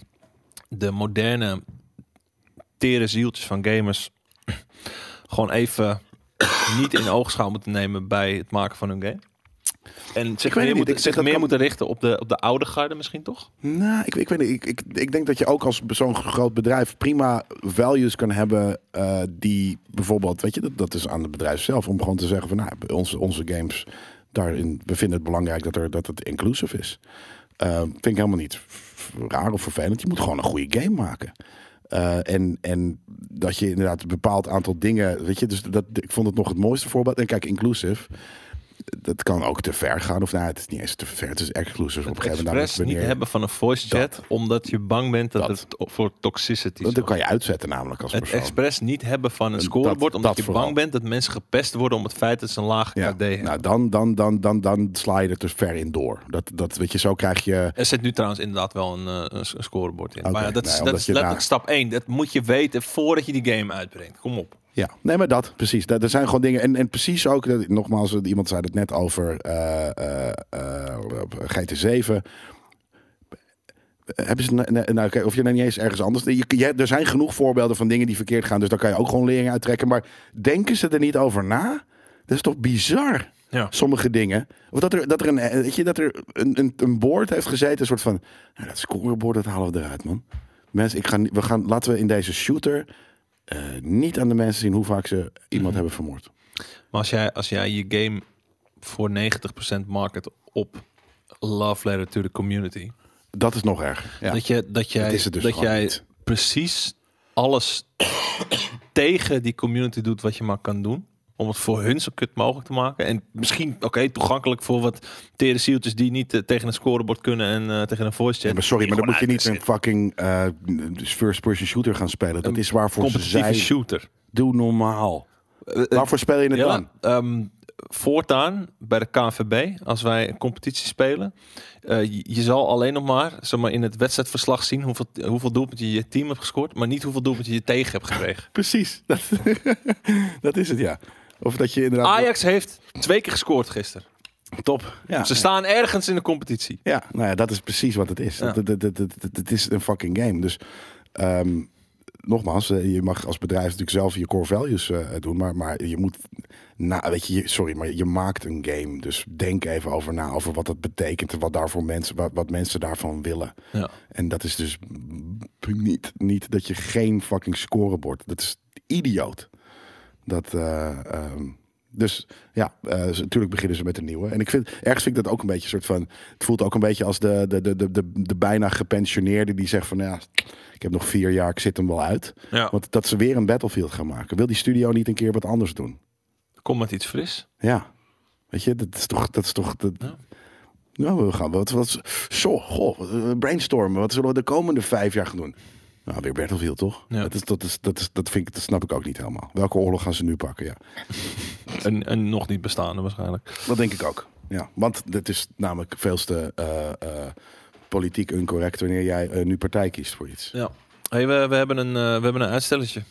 A: de moderne tere zieltjes van gamers gewoon even niet in oogschouw moeten nemen bij het maken van hun game. En zich
B: het niet.
A: meer,
B: Ik
A: moeten,
B: zeg
A: zich
B: dat
A: meer
B: kan-
A: moeten richten op de, op de oude garde misschien toch?
B: Nou, ik, ik weet niet. Ik, ik, ik denk dat je ook als zo'n groot bedrijf prima values kan hebben eh, die bijvoorbeeld, weet je, dat, dat is aan het bedrijf zelf om gewoon te zeggen van, nou, onze, onze games, daarin, we vinden het belangrijk dat, er, dat het inclusive is. Eh, vind ik helemaal niet f- raar of vervelend. Je moet gewoon een goede game maken. Eh, en, en dat je inderdaad een bepaald aantal dingen, weet je, dus dat, ik vond het nog het mooiste voorbeeld. En kijk, inclusive. Dat kan ook te ver gaan. Of nou, het is niet eens te ver. Het is exclusive op een gegeven moment.
A: Expres niet
B: wanneer-
A: hebben van een voice chat, omdat je bang bent dat,
B: Dat.
A: het to- voor toxicity
B: Dat, dat
A: zorgt.
B: kan je uitzetten namelijk als
A: Het
B: persoon.
A: expres niet hebben van een
B: Dat-
A: scorebord, omdat
B: dat
A: je
B: vooral.
A: bang bent dat mensen gepest worden om het feit dat ze een lage
B: ja.
A: KD hebben.
B: Nou, dan, dan, dan, dan, dan sla je er te ver in door. Dat, dat weet je, zo krijg je...
A: Er zit nu trouwens inderdaad wel een, eh, een s- een scorebord in.
B: Oké,
A: maar ja, dat,
B: nee,
A: is, dat
B: omdat
A: is
B: je
A: letterlijk
B: daar-
A: stap 1. Dat moet je weten voordat je die game uitbrengt. Kom op.
B: Ja, nee, maar dat, precies. Dat, er zijn gewoon dingen. En, en precies ook, dat, nogmaals, iemand zei het net over eh, eh, eh, GT7. Hebben ze, nou, nou, kijk, of je nou niet eens ergens anders. Je, je- er zijn genoeg voorbeelden van dingen die verkeerd gaan, dus daar kan je ook gewoon lering uit trekken. Maar denken ze er niet over na? Dat is toch bizar?
A: Ja.
B: Sommige dingen. Of dat er, dat er, een, eh, weet je, dat er een, een, een board heeft gezeten, een soort van. Nou, dat scorebord, dat halen we eruit, man. Mensen, ik ga, niet- we gaan, laten we in deze shooter eh, niet aan de mensen zien hoe vaak ze iemand hebben vermoord.
A: Maar als jij, als jij je game voor 90% market op love letter to the community.
B: Dat is nog erg. Ja.
A: Dat, je, dat jij,
B: Dat
A: dat
B: is het dus gewoon
A: jij
B: niet.
A: precies alles tegen die community doet wat je maar kan doen. Om het voor hun zo kut mogelijk te maken. En misschien, oké, toegankelijk voor wat tere zieltjes die niet eh, tegen een scorebord kunnen en eh, tegen een voice chat.
B: Ja, maar sorry, maar dan moet je niet een
A: een
B: fucking eh, first-person shooter gaan spelen. Dat is waarvoor ze
A: competitieve
B: zijn.
A: shooter.
B: Doe normaal. Waarvoor speel je het
A: Ja,
B: eh, dan?
A: ehm, voortaan bij de KNVB, als wij een competitie spelen, eh, je, je zal alleen nog maar, zeg maar in het wedstrijdverslag zien hoeveel, hoeveel doelpunten je je team hebt gescoord, maar niet hoeveel doelpunten je tegen hebt gekregen.
B: Precies. Dat, dat is het, ja. Of dat je inderdaad...
A: Ajax heeft twee keer gescoord gisteren.
B: Top. Ja.
A: Ze staan ergens in de competitie.
B: Ja, nou ja, dat is precies wat het is.
A: Ja.
B: Het, het- het- het- het- het is een fucking game. Dus ehm, nogmaals, eh, je mag als bedrijf natuurlijk zelf je core values eh, doen. Maar, maar je moet, na, weet je, je- sorry, maar je maakt een game. Dus denk even over na, over wat dat betekent. En wat, daarvoor mensen, wat, wat mensen daarvan willen.
A: Ja.
B: En dat is dus niet, niet dat je geen fucking scorebord. Dat is idioot. Dat, eh, ehm, dus ja, eh, ze- natuurlijk beginnen ze met een nieuwe. En ik vind, ergens vind ik dat ook een beetje een soort van. Het voelt ook een beetje als de, de, de, de, de, de bijna gepensioneerde die zegt van ja, ik heb nog vier jaar, ik zit hem wel uit.
A: Ja.
B: Want dat ze weer een battlefield gaan maken. Wil die studio niet een keer wat anders doen?
A: Kom met iets fris.
B: Ja. Weet je, dat is toch. Dat is toch dat...
A: Ja.
B: Nou, we gaan wat, wat. Zo, goh, eh, brainstormen. Wat zullen we de komende vijf jaar gaan doen? Nou, weer Battlefield, toch?
A: Ja.
B: Dat, is, dat, is, dat, is, dat, vind ik, dat snap ik ook niet helemaal. Welke oorlog gaan ze nu pakken? Ja.
A: Een, een nog niet bestaande waarschijnlijk.
B: Dat denk ik ook. Ja, want het is namelijk veel te eh, eh, politiek incorrect wanneer jij eh, nu partij kiest voor iets.
A: Ja. Hey, we, we, hebben een, eh, we hebben een uitstelletje.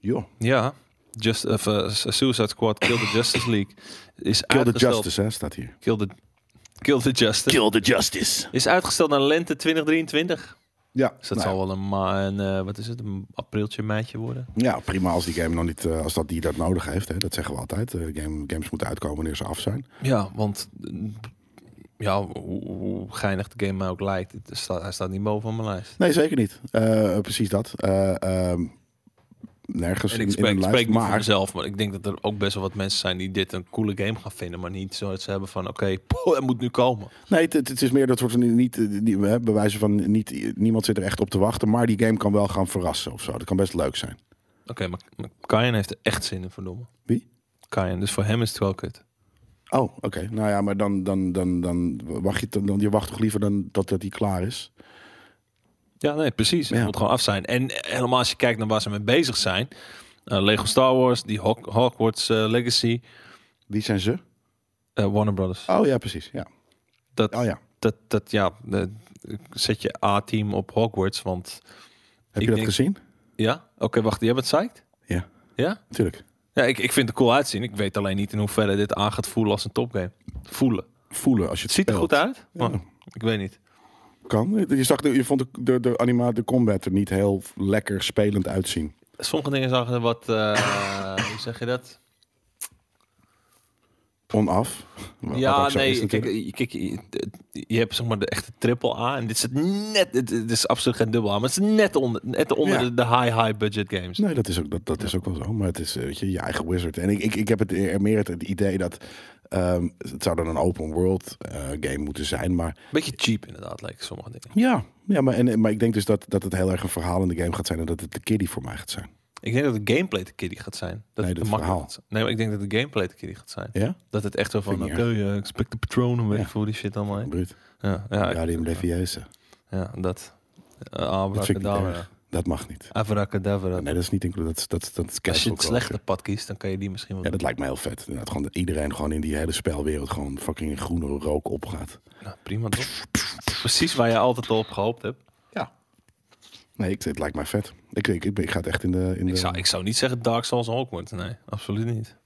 B: Joh,
A: Ja. Just, of, eh, Suicide Squad, Kill the Justice League. Is
B: kill the
A: uitgesteld.
B: justice, hè, staat hier.
A: Kill the, kill the Justice.
B: Kill the justice.
A: Is uitgesteld naar lente 2023.
B: Ja,
A: Dus dat
B: nou ja.
A: zal wel een, ma een eh, wat is het, een apriltje, meidje worden.
B: Ja, prima als die game nog niet, eh, als dat die dat nodig heeft. Hè. Dat zeggen we altijd. Eh, game, games moeten uitkomen wanneer ze af zijn.
A: Ja, want mm, ja, hoe, hoe geinig de game mij ook lijkt, het staat, hij staat niet boven mijn lijst.
B: Nee, zeker niet. Eh, precies dat. Eh, ehm, nergens
A: En
B: in,
A: ik
B: in
A: spreek,
B: een
A: ik
B: lijst.
A: spreek niet voor
B: maar
A: mezelf, maar ik denk dat er ook best wel wat mensen zijn die dit een coole game gaan vinden, maar niet zo dat ze hebben van, oké, poeh, het moet nu komen.
B: nee, het, het is meer dat soort van niet, eh, die- hè, bewijzen van niet, niemand zit er echt op te wachten. Maar die game kan wel gaan verrassen of zo. Dat kan best leuk zijn.
A: Oké, maar, maar Kayan heeft er echt zin in, verdomme.
B: Wie?
A: Kayan, dus voor hem is het wel kut.
B: Oh, oké. Nou ja, maar dan, dan, dan, dan wacht je, dan, dan, je wacht toch liever dan dat, dat die klaar is.
A: Ja, nee, precies. Het
B: Ja.
A: moet gewoon af zijn. En helemaal als je kijkt naar waar ze mee bezig zijn. eh, Lego Star Wars, die Hawk- Hogwarts eh, Legacy,
B: Wie zijn ze?
A: eh, Warner Brothers.
B: Oh ja, precies. Ja.
A: Dat,
B: Oh ja.
A: dat, dat ja, eh, zet je A-team op Hogwarts, want...
B: Heb
A: Ik
B: je dat
A: denk-
B: gezien?
A: Ja? Oké, wacht, jij bent psyched?
B: Ja,
A: Ja?
B: natuurlijk.
A: Ja, ik, ik vind het cool uitzien. Ik weet alleen niet in hoeverre dit aan gaat voelen als een topgame. Voelen.
B: Voelen als je
A: Het
B: het
A: ziet er
B: speelt.
A: goed uit, maar
B: Oh,
A: ik weet niet.
B: Kan. Je, zag de, je vond de, de, de, anima, de combat er niet heel lekker spelend uitzien.
A: Sommige dingen zagen er wat... eh, hoe zeg je dat?
B: Onaf. Wat
A: Ja,
B: ook zo is
A: nee,
B: natuurlijk.
A: kijk, kijk, je, je hebt zeg maar de echte triple A en dit zit net, het het is absoluut geen dubbel A, maar het is net onder, net onder
B: Ja.
A: de, de high high budget games.
B: Nee, dat is ook, dat, dat is ook wel zo. Maar het is eh, weet je, je eigen wizard. En ik, ik, ik heb het eer- meer het, het idee dat ehm, het zou dan een open world eh, game moeten zijn. Maar
A: Beetje cheap inderdaad, lijken sommige dingen.
B: ja, ja maar, en, maar ik denk dus dat, dat het heel erg een verhaal in de game gaat zijn. En dat het de kiddie voor mij gaat zijn.
A: Ik denk dat de gameplay te kiddie gaat zijn. Dat
B: Nee,
A: het te
B: dat
A: makkelijk
B: verhaal.
A: gaat zijn. Nee, maar ik denk dat de gameplay te kiddie gaat zijn.
B: Ja?
A: Dat het echt zo van,
B: Vind
A: oké,
B: ik
A: eh, ik spek de patronen weg
B: Ja.
A: voor die shit allemaal. heen.
B: Bruut.
A: Ja, ja, ik-
B: Ja, die Leviese.
A: ja, dat. Uh,
B: Dat vind ik niet
A: abracadabra.
B: erg. Dat mag niet.
A: Abracadabra.
B: Nee, dat is niet inclusief. Dat, is- dat, is- dat is
A: Als je
B: casual
A: het
B: culture.
A: slechte pad kiest, dan kan je die misschien wel
B: Ja, dat lijkt mij heel vet. Inderdaad, gewoon dat iedereen gewoon in die hele spelwereld gewoon fucking in groene rook opgaat.
A: Nou, prima toch? Precies waar je altijd al op gehoopt hebt.
B: Nee, ik, het lijkt mij vet. Ik, ik, ik, ik ga het echt in de... In de
A: Ik zou, ik zou niet zeggen Dark Souls en Hogwarts. Nee, absoluut niet.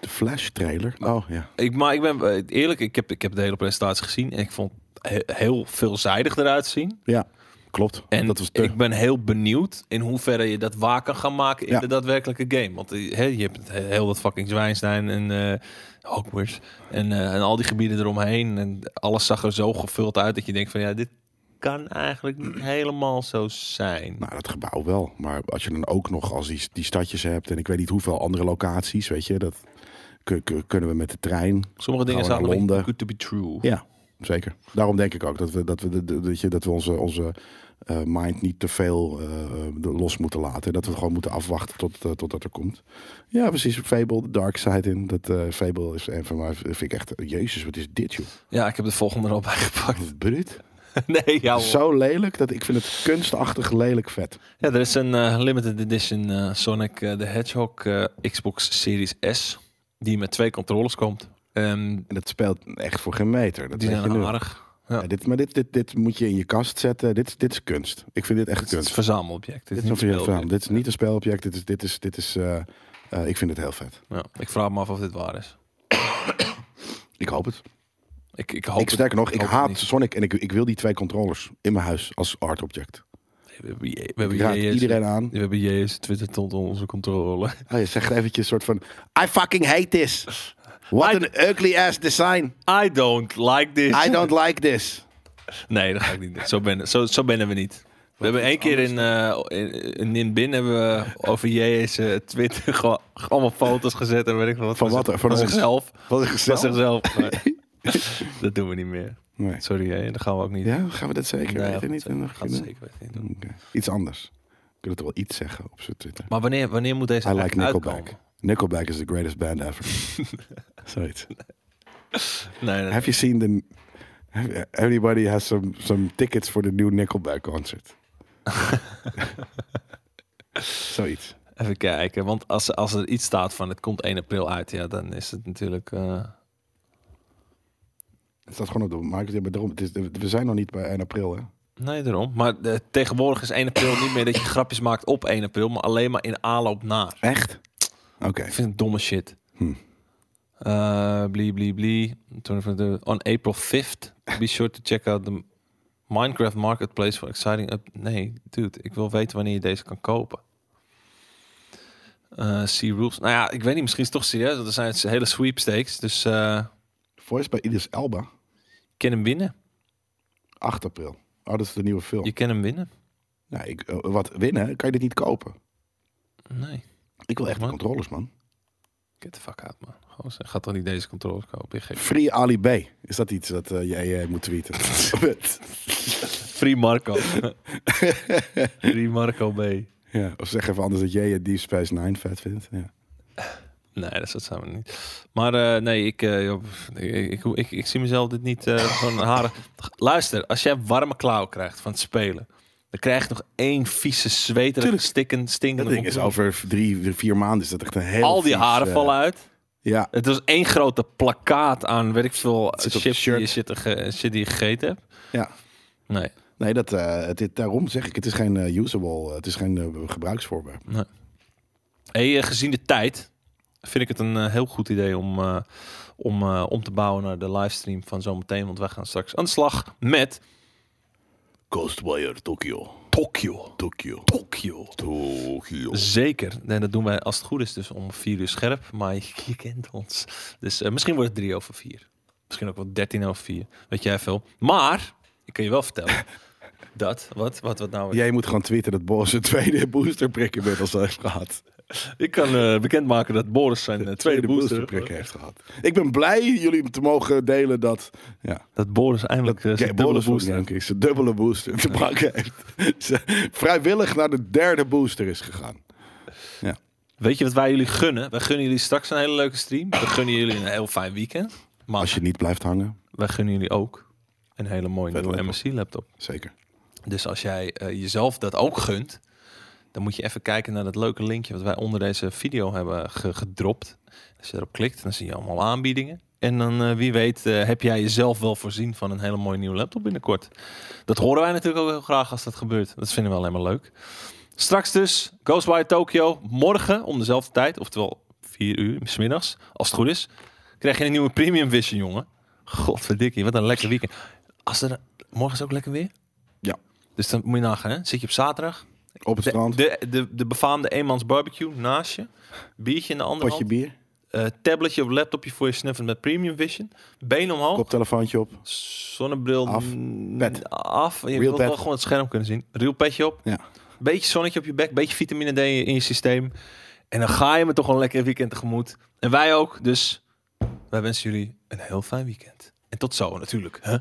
B: de Flash trailer. Oh ja.
A: Ik, maar ik ben eh, eerlijk, ik heb, ik heb de hele presentatie gezien en ik vond het he- heel veelzijdig eruit zien.
B: Ja, klopt.
A: En
B: dat was te.
A: ik ben heel benieuwd in hoeverre je dat waar kan gaan maken in
B: Ja.
A: de daadwerkelijke game. Want eh, hè, je hebt het he- heel dat fucking Zwijnstein en eh Hogwarts en, eh, en al die gebieden eromheen. En alles zag er zo gevuld uit dat je denkt van ja, dit kan eigenlijk niet helemaal zo zijn.
B: Nou, dat gebouw wel. Maar als je dan ook nog als die, die stadjes hebt en ik weet niet hoeveel andere locaties, weet je, dat kun- kun- kunnen we met de trein.
A: Sommige dingen zagen
B: gaan we naar
A: een beetje
B: Londen.
A: good to be true.
B: Ja, zeker. Daarom denk ik ook dat we, dat we, de- de- weet je, dat we onze, onze eh, mind niet te veel eh, de- los moeten laten. Dat we gewoon moeten afwachten tot, eh, totdat er komt. Ja, precies. Fable, de dark side in. Dat eh, Fable is een van mij. Vind ik echt, jezus, wat is dit joh?
A: Ja, ik heb de volgende er al bij gepakt.
B: Bruut.
A: nee, ja, hoor.
B: Zo lelijk dat ik vind het kunstachtig lelijk vet.
A: Ja, er is een eh, limited edition eh, Sonic eh, the Hedgehog eh, Xbox Series S. Die met twee controllers komt. En
B: En dat speelt echt voor geen meter. Dat
A: die
B: weet je
A: zijn
B: nu.
A: aardig.
B: Ja, dit, maar dit, dit, dit moet je in je kast zetten. Dit, is- dit is kunst. Ik vind dit echt
A: Het is een
B: kunst.
A: verzamelobject.
B: Dit
A: Dit
B: is,
A: is
B: een
A: niet
B: verhaal.
A: speelgoed.
B: dit is niet een spelobject. Dit is, dit is, dit is eh, eh, ik vind het heel vet.
A: Ja, ik vraag me af of dit waar is.
B: Ik hoop het.
A: Ik, ik hoop
B: ik sterker nog, ik
A: hoop het
B: haat
A: niet.
B: Sonic en ik, ik wil die twee controllers in mijn huis als art object.
A: We hebben, J- we
B: Ik
A: hebben
B: raad
A: JS
B: iedereen aan.
A: We hebben JS Twitter tot onder onze controle.
B: Oh, je zegt eventjes een soort van, I fucking hate this. What an ugly ass design.
A: I don't like this.
B: I don't like this.
A: Nee, dat ga ik niet doen. Zo, ben, zo, zo bennen we niet. We hebben één keer in, eh in, in Ninbin hebben we over JS eh, Twitter gewoon allemaal foto's gezet en weet ik veel wat.
B: Van wat? Van ons?
A: zichzelf.
B: Wat een
A: Van
B: gezellig.
A: zichzelf. maar dat doen we niet meer.
B: Nee.
A: Sorry, hè, dat gaan we ook niet.
B: Ja, gaan we dat zeker?
A: Nee,
B: Weet je
A: dat
B: niet?
A: gaat-
B: Nog-
A: gaat zeker weten niet doen.
B: Oké. Iets anders. We kunnen toch wel iets zeggen op zijn Twitter.
A: Maar wanneer, wanneer moet deze
B: I like
A: eigenlijk
B: Nickelback.
A: uitkomen?
B: Nickelback is the greatest band ever. Zoiets.
A: Nee, nee,
B: Have you seen the? have- Everybody has some some tickets for the new Nickelback concert. Zoiets.
A: Even kijken, want als, als er iets staat van het komt 1 april uit, ja, dan is het natuurlijk... eh,
B: Het staat gewoon op de markt. Ja, maar daarom, het is, we zijn nog niet bij 1 april, hè?
A: Nee, daarom. Maar eh, tegenwoordig is 1 april niet meer dat je grapjes maakt op 1 april, maar alleen maar in aanloop naar.
B: Echt? Oké.
A: Ik vind het domme shit.
B: Hm.
A: Eh, blie, blie, blie. Toen even de- On April 5th, be sure to check out the Minecraft Marketplace for exciting... up- nee, dude, ik wil weten wanneer je deze kan kopen. Eh see rules. Nou ja, ik weet niet, misschien is het toch serieus. want Er zijn het hele sweepstakes, dus eh
B: Voice by Idris Elba,
A: je kan hem winnen.
B: 8 april. Oh, dat is de nieuwe film.
A: Je kan hem winnen.
B: Nou, ik, eh, wat winnen? Kan je dit niet kopen?
A: Nee.
B: Ik wil echt de
A: Wat?
B: controllers, man.
A: Get the fuck out, man. Gozer, gaat dan niet deze controles kopen? Je gek.
B: Free Ali B. Is dat iets dat eh, jij eh, moet tweeten?
A: Free Marco. Free Marco B.
B: ja. Of zeg even anders dat jij je Deep Space Nine vet vindt. Ja.
A: Nee, dat dat zijn we niet. Maar eh, nee, ik, eh, joh, ik, ik, ik, ik zie mezelf dit niet eh zo'n haren. Luister, als jij warme klauw krijgt van het spelen, dan krijg je nog één vieze zweterige
B: Tuurlijk.
A: stikken,
B: Dat
A: stinkende
B: ding is
A: romp.
B: over drie, vier maanden is dat echt een hele.
A: Al die
B: eh.
A: haren vallen uit.
B: Ja,
A: Het was één grote plakkaat aan, weet ik veel,
B: zit op je
A: chips die je,
B: shirt.
A: zit er ge- shit die je gegeten hebt.
B: ja.
A: Nee,
B: Nee, dat, eh, het, is- daarom zeg ik, het is geen eh, usable, eh, het is geen eh, gebruiksvoorwerp.
A: Hey, eh, gezien de tijd vind ik het een eh, heel goed idee om, eh, om, eh, om te bouwen naar de livestream van zometeen. Want wij gaan straks aan de slag met
B: Ghostwire Tokyo.
A: Tokyo.
B: Tokyo.
A: Tokyo.
B: Tokyo.
A: Zeker. En dat doen wij als het goed is dus om vier uur scherp. Maar je, je kent ons. Dus eh, misschien wordt het drie over vier. Misschien ook wel dertien over vier. Weet jij veel. Maar, ik kan je wel vertellen. dat, wat, wat, wat nou? weer?
B: Jij moet gewoon twitteren dat Boris een tweede boosterprik inmiddels heeft gehad.
A: Ik kan bekend bekendmaken dat Boris zijn eh, tweede
B: boosterprik
A: booster...
B: heeft gehad. Ik ben blij jullie te mogen delen dat... Ja.
A: Dat Boris eindelijk eh, zijn
B: Ja,
A: dubbele
B: Boris
A: booster
B: Wozniacki zijn dubbele booster te maken heeft. Ze vrijwillig naar de derde booster is gegaan. Ja.
A: Weet je wat wij jullie gunnen? Wij gunnen jullie straks een hele leuke stream. We gunnen jullie een heel fijn weekend. Maar
B: Als je niet blijft hangen,
A: wij gunnen jullie ook een hele mooie
B: Vet
A: nieuwe
B: laptop.
A: MSI-laptop.
B: zeker.
A: Dus als jij eh, jezelf dat ook gunt, dan moet je even kijken naar dat leuke linkje wat wij onder deze video hebben ge- gedropt. Als je erop klikt, dan zie je allemaal aanbiedingen. En dan, eh, wie weet, eh, heb jij jezelf wel voorzien van een hele mooie nieuwe laptop binnenkort. Dat horen wij natuurlijk ook heel graag als dat gebeurt. Dat vinden we alleen maar leuk. Straks dus Ghostwire Tokyo, morgen om dezelfde tijd, oftewel vier uur, smiddags, als het goed is, krijg je een nieuwe premium vision, jongen. Godverdikkie, wat een lekker weekend. Als er, morgen is ook lekker weer?
B: Ja.
A: Dus dan moet je nagaan, hè? Zit je op zaterdag?
B: Op het
A: De,
B: strand,
A: de, de, de befaamde eenmans barbecue naast je. Biertje in de andere
B: potje
A: hand.
B: bier,
A: eh, tabletje of laptopje voor je snuffen met premium vision. Been omhoog.
B: koptelefoontje op.
A: Zonnebril
B: Af.
A: mm,
B: Pet.
A: af. Je
B: Real
A: wilt wel
B: pet.
A: gewoon het scherm kunnen zien. Real petje op.
B: Ja.
A: Beetje zonnetje op je bek. Beetje vitamine D in je systeem. En dan ga je me toch wel een lekker weekend tegemoet. En wij ook. Dus wij wensen jullie een heel fijn weekend. En tot zo natuurlijk. Hè?